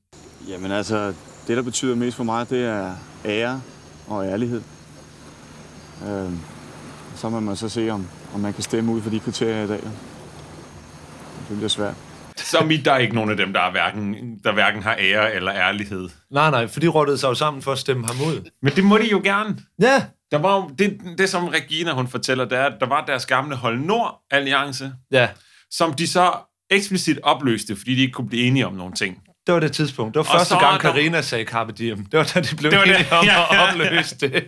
S13: Jamen altså, det der betyder mest for mig, det er ære og ærlighed. Øh, så må man så se, om, om man kan stemme ud for de kriterier i dag. Det bliver svært.
S1: Som i, der er ikke nogen af dem, der, er hverken, der hverken har ære eller ærlighed.
S2: Nej, nej, for de rottede sig jo sammen for at stemme ham ud.
S1: Men det må de jo gerne.
S2: Ja.
S1: Der var jo, det, det, som Regina hun fortæller, det er, at der var deres gamle Hold Nord-alliance,
S2: Ja,
S1: som de så eksplicit opløste, fordi de ikke kunne blive enige om nogle ting.
S2: det var det tidspunkt. Det var
S1: Og
S2: første
S1: så er
S2: gang,
S1: der-
S2: Karina sagde Carpe Diem. Det var da de blev
S1: Det var det.
S2: enige om
S1: Ja.
S2: at opløse det.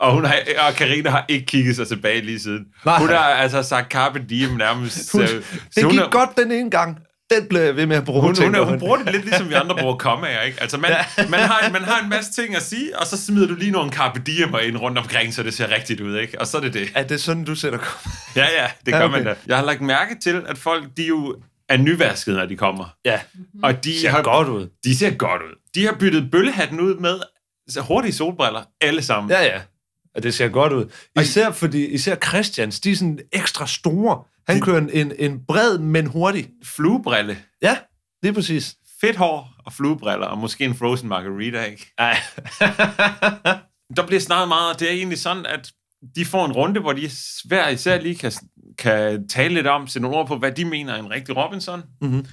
S1: Og, hun har, og Carina har ikke kigget sig tilbage lige siden. Nej. Hun har altså sagt Carpe Diem nærmest.
S2: Hun,
S1: øh,
S2: det
S1: hun
S2: gik
S1: er-
S2: godt den ene gang. Den blev jeg ved med at bruge,
S1: Hun, hun,
S2: tænker
S1: hun, hun bruger det lidt ligesom vi andre bruger kommaer, ikke? Altså, man, man, har, en- man har en masse ting at sige, og så smider du lige nogle carpe diem'er ind rundt omkring, så det ser rigtigt ud, ikke? Og så er det det.
S2: Er det sådan, du sætter kommaer?
S1: Ja, ja, det
S2: Ja,
S1: gør
S2: okay.
S1: man da. Jeg har lagt mærke til, at folk, de jo er nyvaskede, når de kommer.
S2: Ja.
S1: Og de ser har,
S2: godt ud.
S1: De ser godt ud. De har byttet bøllehatten ud med så hurtige solbriller, alle sammen.
S2: Ja, ja. Og det ser godt ud. Især, fordi, især Christians, de er sådan ekstra store. Han kører en, en, en bred, men hurtig.
S1: Fluebrille.
S2: Ja, lige præcis.
S1: Fedt hår og fluebriller, og måske en frozen margarita, ikke?
S2: Nej.
S1: der bliver snart meget, det er egentlig sådan, at de får en runde, hvor de hver især lige kan, kan tale lidt om, sætte nogle ord på, hvad de mener er en rigtig Robinson.
S2: Mm-hmm.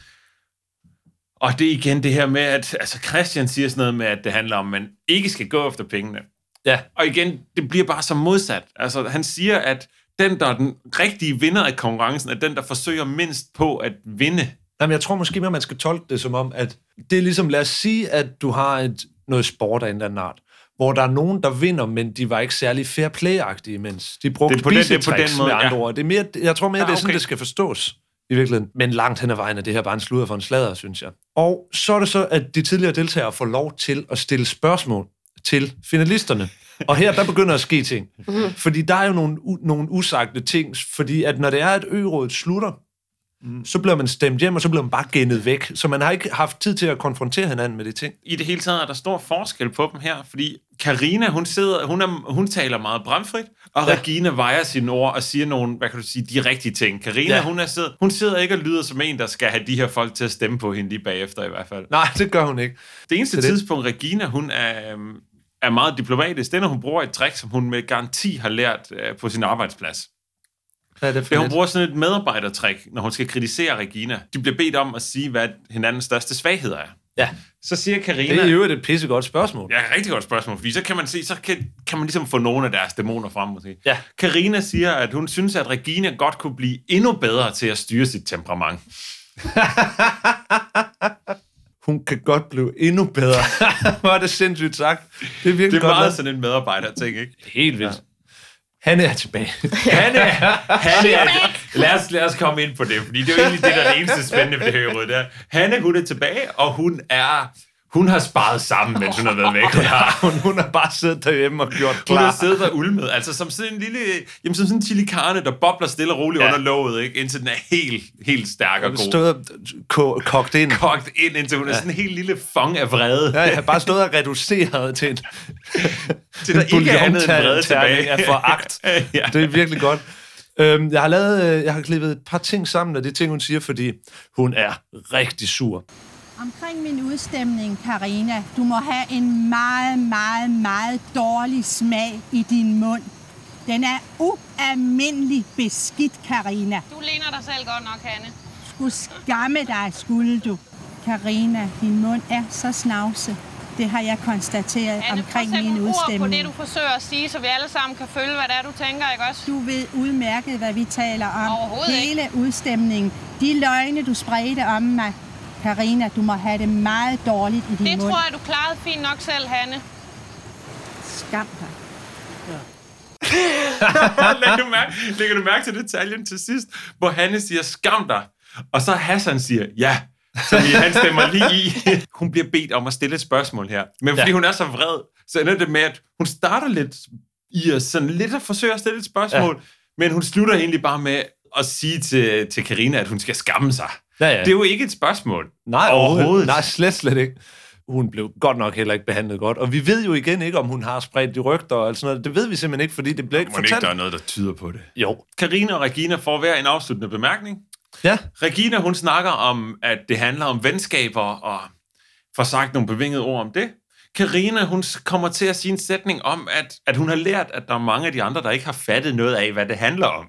S1: Og det er igen det her med, at altså Christian siger sådan noget med, at det handler om, at man ikke skal gå efter pengene.
S2: Ja.
S1: Og igen, det bliver bare så modsat. Altså, han siger, at den, der er den rigtige vinder af konkurrencen, er den, der forsøger mindst på at vinde.
S2: Jamen, jeg tror måske mere, man skal tolke det som om, at det er ligesom, lad os sige, at du har et, noget sport af en eller anden art, hvor der er nogen, der vinder, men de var ikke særlig fair play mens de brugte
S1: Det er på den- det er på den
S2: spisetricks
S1: måde,
S2: med andre
S1: ja.
S2: ord. Det er mere, jeg tror mere,
S1: Ja,
S2: det er sådan,
S1: okay.
S2: det skal forstås i virkeligheden. Ah, Men langt hen ad vejen er det her bare en sludder for en slader, synes jeg. Og så er det så, at de tidligere deltagere får lov til at stille spørgsmål til finalisterne. Og her, der begynder at ske ting.
S11: Mhm.
S2: Fordi der er jo nogle, u- nogle usagte ting, fordi at når det er, at ørådet slutter, mm. så bliver man stemt hjem, og så bliver man bare gennet væk. Så man har ikke haft tid til at konfrontere hinanden med de ting.
S1: I det hele taget er der stor forskel på dem her, fordi Karina hun sidder, hun, er, hun taler meget bramfrit, og ja. Regina vejer sine ord og siger nogle, hvad kan du sige, de rigtige ting. Karina
S2: Ja.
S1: ja. hun, er sidder, hun sidder ikke og lyder som en, der skal have de her folk til at stemme på hende lige bagefter i hvert fald.
S2: Nej, det gør hun ikke.
S1: Det eneste
S2: Det
S1: det
S2: er det.
S1: tidspunkt, Regina hun er, øhm, er meget diplomatisk, det er, når hun bruger et trick, som hun med garanti har lært øh, på sin arbejdsplads.
S2: Hvad er det for
S1: Det, hun
S2: det
S1: bruger sådan et medarbejdertrik, når hun skal kritisere Regina. De bliver bedt om at sige, hvad hinandens største svagheder er.
S2: Ja.
S1: Så siger Karina...
S2: Det er i øvrigt et pissegodt spørgsmål.
S1: Ja, rigtig godt spørgsmål, fordi så kan man se, så kan, kan man ligesom få nogle af deres dæmoner frem, måske.
S2: Ja.
S1: Karina siger, at hun synes, at Regina godt kunne blive endnu bedre til at styre sit temperament.
S2: Hun kan godt blive endnu bedre. Hvor er det sindssygt sagt. Det er virkelig
S1: Det er
S2: godt
S1: meget
S2: lavet.
S1: sådan en medarbejder-ting, ikke?
S2: Helt vildt. Han er tilbage.
S1: Han er, han er, lad, os, lad os komme ind på det, fordi det er jo egentlig det, der er det eneste spændende ved det her rød. Der. Hanne, hun er tilbage, og hun er... Hun har sparet sammen, mens hun har været væk. Hun har,
S2: hun, hun har bare siddet derhjemme og gjort
S1: Hun har
S2: klar.
S1: siddet og ulmet, altså som sådan en lille, jamen som sådan en chilikarne, der bobler stille og roligt
S2: Ja.
S1: ja. under låget, ikke? indtil den er helt, helt stærk og
S2: Hun
S1: god.
S2: har stået og ko- kogt ind.
S1: kogt ind, indtil hun ja. er sådan en helt lille fong af vrede.
S2: Ja, jeg har bare stået og reduceret til en,
S1: Til der
S2: en
S1: ikke er andet end vrede
S2: bouillonterning
S1: tilbage.
S2: af foragt.
S1: ja.
S2: Det er virkelig godt. Øhm, jeg, har lavet, øh, jeg har klippet et par ting sammen af de ting, hun siger, fordi hun er rigtig sur.
S14: Omkring min udstemning, Karina, du må have en meget, meget, meget dårlig smag i din mund. Den er ualmindelig beskidt, Karina.
S15: Du ligner dig selv godt nok, Hanne.
S14: skulle skamme dig, skulle du. Karina, din mund er så snavse. Det har jeg konstateret
S15: Hanne, prøv at
S14: omkring
S15: sætte
S14: min
S15: nogle ord på det,
S14: udstemning.
S15: du forsøger at sige, så vi alle sammen kan følge, hvad det er, du tænker, ikke også?
S14: Du ved udmærket, hvad vi taler om.
S15: Overhovedet ikke.
S14: Hele udstemningen. De løgne, du spredte om mig. Karina, du må have det meget dårligt i din
S15: Det
S14: mund.
S15: tror jeg, du klarede fint nok selv, Hanne.
S14: Skam dig.
S1: Lægger du, mærke, lægger du mærke til detaljen til sidst, hvor Hanne siger, skam dig. Og så Hassan siger, ja. Så vi- han stemmer lige i. Hun bliver bedt om at stille et spørgsmål her. Men fordi
S2: Ja.
S1: ja. hun er så vred, så ender det med, at hun starter lidt i at sådan lidt at forsøge at stille et spørgsmål, ja. men hun slutter egentlig bare med at sige til, til Karina, at hun skal skamme sig.
S2: Ja, ja.
S1: Det er jo ikke et spørgsmål.
S2: Nej, overhovedet. Nej, slet, slet ikke. Hun blev godt nok heller ikke behandlet godt. Og vi ved jo igen ikke, om hun har spredt de rygter og alt sådan noget. Det ved vi simpelthen ikke, fordi det blev ikke
S1: Må ikke,
S2: fortalt.
S1: der er noget, der tyder på det?
S2: Jo.
S1: Karina og Regina får hver en afsluttende bemærkning.
S2: Ja.
S1: Regina, hun snakker om, at det handler om venskaber, og får sagt nogle bevingede ord om det. Karina, hun s- kommer til at sige en sætning om, at, at hun har lært, at der er mange af de andre, der ikke har fattet noget af, hvad det handler om.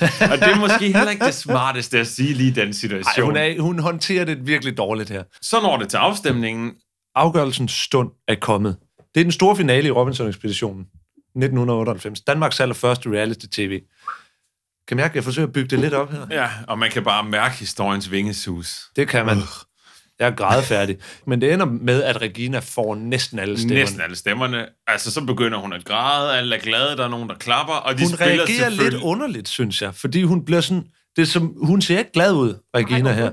S1: og det er måske heller ikke det smarteste at sige lige i den situation.
S2: Ej, hun, er, hun håndterer det virkelig dårligt her.
S1: Så når det til afstemningen.
S2: Afgørelsens stund er kommet. Det er den store finale i Robinson-ekspeditionen. 1998. Danmarks allerførste reality-tv. Kan mærke, at jeg forsøger at bygge det lidt op her?
S1: Ja, og man kan bare mærke historiens vingesus.
S2: Det kan man. Jeg er grædefærdig. Men det ender med, at Regina får næsten alle stemmerne.
S1: Næsten alle stemmerne. Altså, så begynder hun at græde, alle er glade, der er nogen, der klapper, og de
S2: hun
S1: spiller
S2: reagerer lidt
S1: selvfølgelig-
S2: underligt, synes jeg, fordi hun bliver sådan, det er som, hun ser ikke glad ud, Regina her.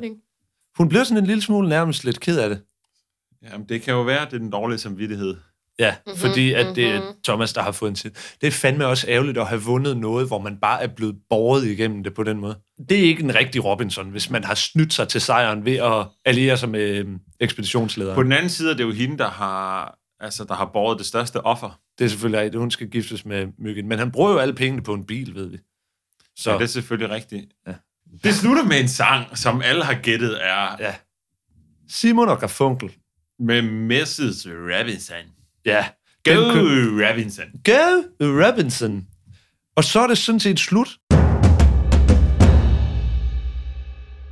S2: Hun bliver sådan en lille smule nærmest lidt ked af det.
S1: Jamen, det kan jo være, det er den dårlige samvittighed.
S2: Ja,
S1: Mhm,
S2: mm-hmm, fordi at det er
S1: mhm.
S2: Thomas, der har fået en tid. Det er fandme også ærgerligt at have vundet noget, hvor man bare er blevet båret igennem det på den måde. Det er ikke en rigtig Robinson, hvis man har snydt sig til sejren ved at alliere sig med øhm, ekspeditionslederen.
S1: På den anden side er det jo hende, der har, altså, der har båret det største offer.
S2: Det er selvfølgelig rigtigt, hun skal giftes med Myggen. Men han bruger jo alle pengene på en bil, ved vi.
S1: Så ja, det er selvfølgelig rigtigt. Ja. Det slutter med en sang, som alle har gættet er...
S2: Ja. Simon og Garfunkel.
S1: Med Mrs. Robinson.
S2: Ja.
S1: Go
S2: Den
S1: kø- Robinson.
S2: Go Robinson. Og så er det sådan set slut.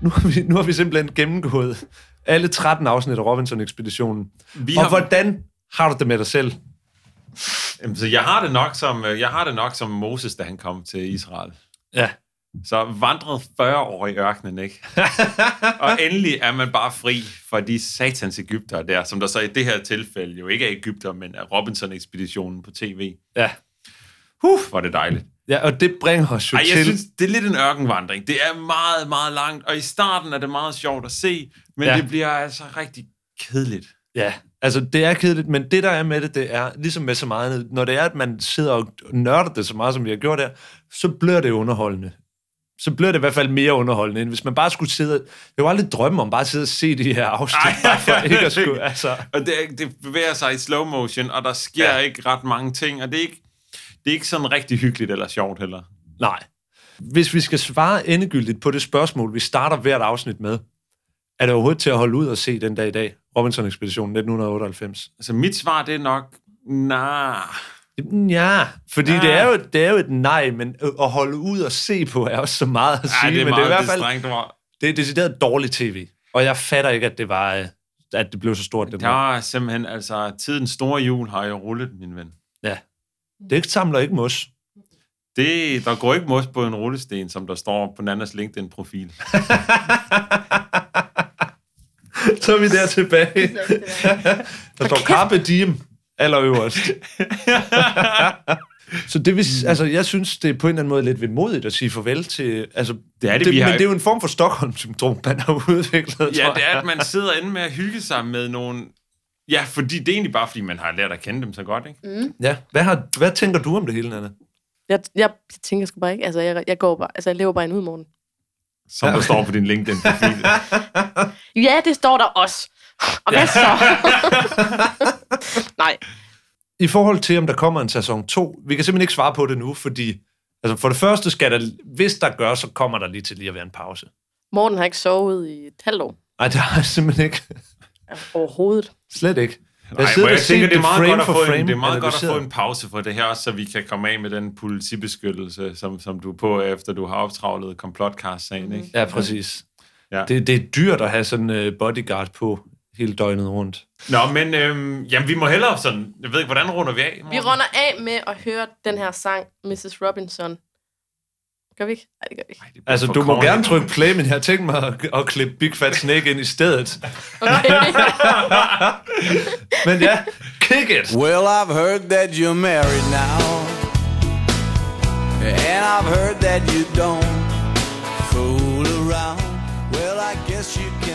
S2: Nu har vi, nu har vi simpelthen gennemgået alle 13 afsnit af Robinson-ekspeditionen.
S1: Vi
S2: Og
S1: har-
S2: hvordan har du det med dig selv?
S1: Jamen, så jeg har, det nok som, øh, jeg har det nok som Moses, da han kom til Israel.
S2: Ja.
S1: Så vandrede 40 år i ørkenen, ikke? og endelig er man bare fri for de satans Ægypter der, som der så i det her tilfælde jo ikke er Ægypter, men er Robinson-ekspeditionen på tv.
S2: Ja.
S1: Huh, hvor er det dejligt.
S2: Ja, og det bringer os jo
S1: Ej, jeg
S2: til...
S1: synes, det er lidt en ørkenvandring. Det er meget, meget langt, og i starten er det meget sjovt at se, men
S2: Ja.
S1: ja. det bliver altså rigtig kedeligt.
S2: Ja, altså det er kedeligt, men det der er med det, det er, ligesom med så meget andet, når det er, at man sidder og nørder det så meget, som vi har gjort her, så bliver det underholdende. Så bliver det i hvert fald mere underholdende, end hvis man bare skulle sidde... Jeg kunne aldrig drømme om bare at sidde og se de her afsnit, bare for ikke at skulle... Altså.
S1: Og det, er- det bevæger sig i slow motion, og der sker ja. ikke ret mange ting, og det er ikke, det er ikke sådan rigtig hyggeligt eller sjovt heller.
S2: Nej. Hvis vi skal svare endegyldigt på det spørgsmål, vi starter hvert afsnit med, er det overhovedet til at holde ud og se den dag i dag, Robinson-ekspeditionen 1998?
S1: Altså mit svar, det er nok, nej.
S2: Ja, fordi
S1: Ah.
S2: det er, jo, det er jo et nej, men at holde ud og se på er også så meget at sige.
S1: Ej, det er
S2: men
S1: meget
S2: det er i hvert fald
S1: strengt ord.
S2: det er decideret dårligt tv. Og jeg fatter ikke, at det var øh, at det blev så stort. Det,
S1: Der er simpelthen, altså, tidens store jul har jo rullet, min ven.
S2: ja. det samler ikke mos.
S1: Det, der går ikke mos på en rullesten, som der står på Nannas LinkedIn-profil.
S2: Så er vi der tilbage. der står Carpe Diem allerøverst. så det vil, s-
S1: Mm.
S2: altså, jeg synes, det er på en eller anden måde lidt vemodigt at sige farvel til... Altså,
S1: Det er det, vi
S2: det
S1: har-
S2: men det er jo en form for Stockholm-syndrom, man har udviklet,
S1: Ja,
S2: tror
S1: det er,
S2: jeg.
S1: at man sidder inde med at hygge sig med nogle... Ja, fordi det er egentlig bare, fordi man har lært at kende dem så godt, ikke?
S9: Mm.
S2: Ja, hvad, har, hvad tænker du om det hele, Nana?
S9: Jeg, jeg tænker sgu bare ikke. Altså, jeg, jeg, går bare, altså, jeg lever bare en udmorgen.
S1: Som der står på din LinkedIn-profil.
S9: Ja, det står der også. Og hvad så? Nej.
S2: I forhold til, om der kommer en sæson 2, vi kan simpelthen ikke svare på det nu, fordi altså for det første skal der, hvis der gør, så kommer der lige til lige at være en pause.
S9: Morten har ikke sovet i et halvt år.
S2: Nej, det har jeg simpelthen ikke.
S9: Overhovedet.
S2: Slet ikke.
S1: Nej,
S2: sidder
S1: hvor
S2: og
S1: jeg
S2: ser
S1: tænker, det er meget godt at
S2: for
S1: få en, det er meget godt at
S2: analyseret.
S1: få en pause for det her, også, så vi kan komme af med den politibeskyttelse, som, som du er på, efter du har optravlet komplotcast-sagen, ikke?
S2: Ja, præcis.
S1: Ja.
S2: Det, det er dyrt at have sådan en uh, bodyguard på hele døgnet rundt.
S1: Nå, men øhm, jamen, vi må hellere sådan... Jeg ved ikke, hvordan runder vi af?
S9: Vi runder af med at høre den her sang, Mrs. Robinson. Gør vi ikke? Nej, det gør vi ikke.
S2: Altså, du må gerne trykke play, men jeg har tænkt mig at, at klippe Big Fat Snake ind i stedet. men ja, kick it!
S16: Well, I've heard that you're married now. And I've heard that you don't fool around. Well, I guess you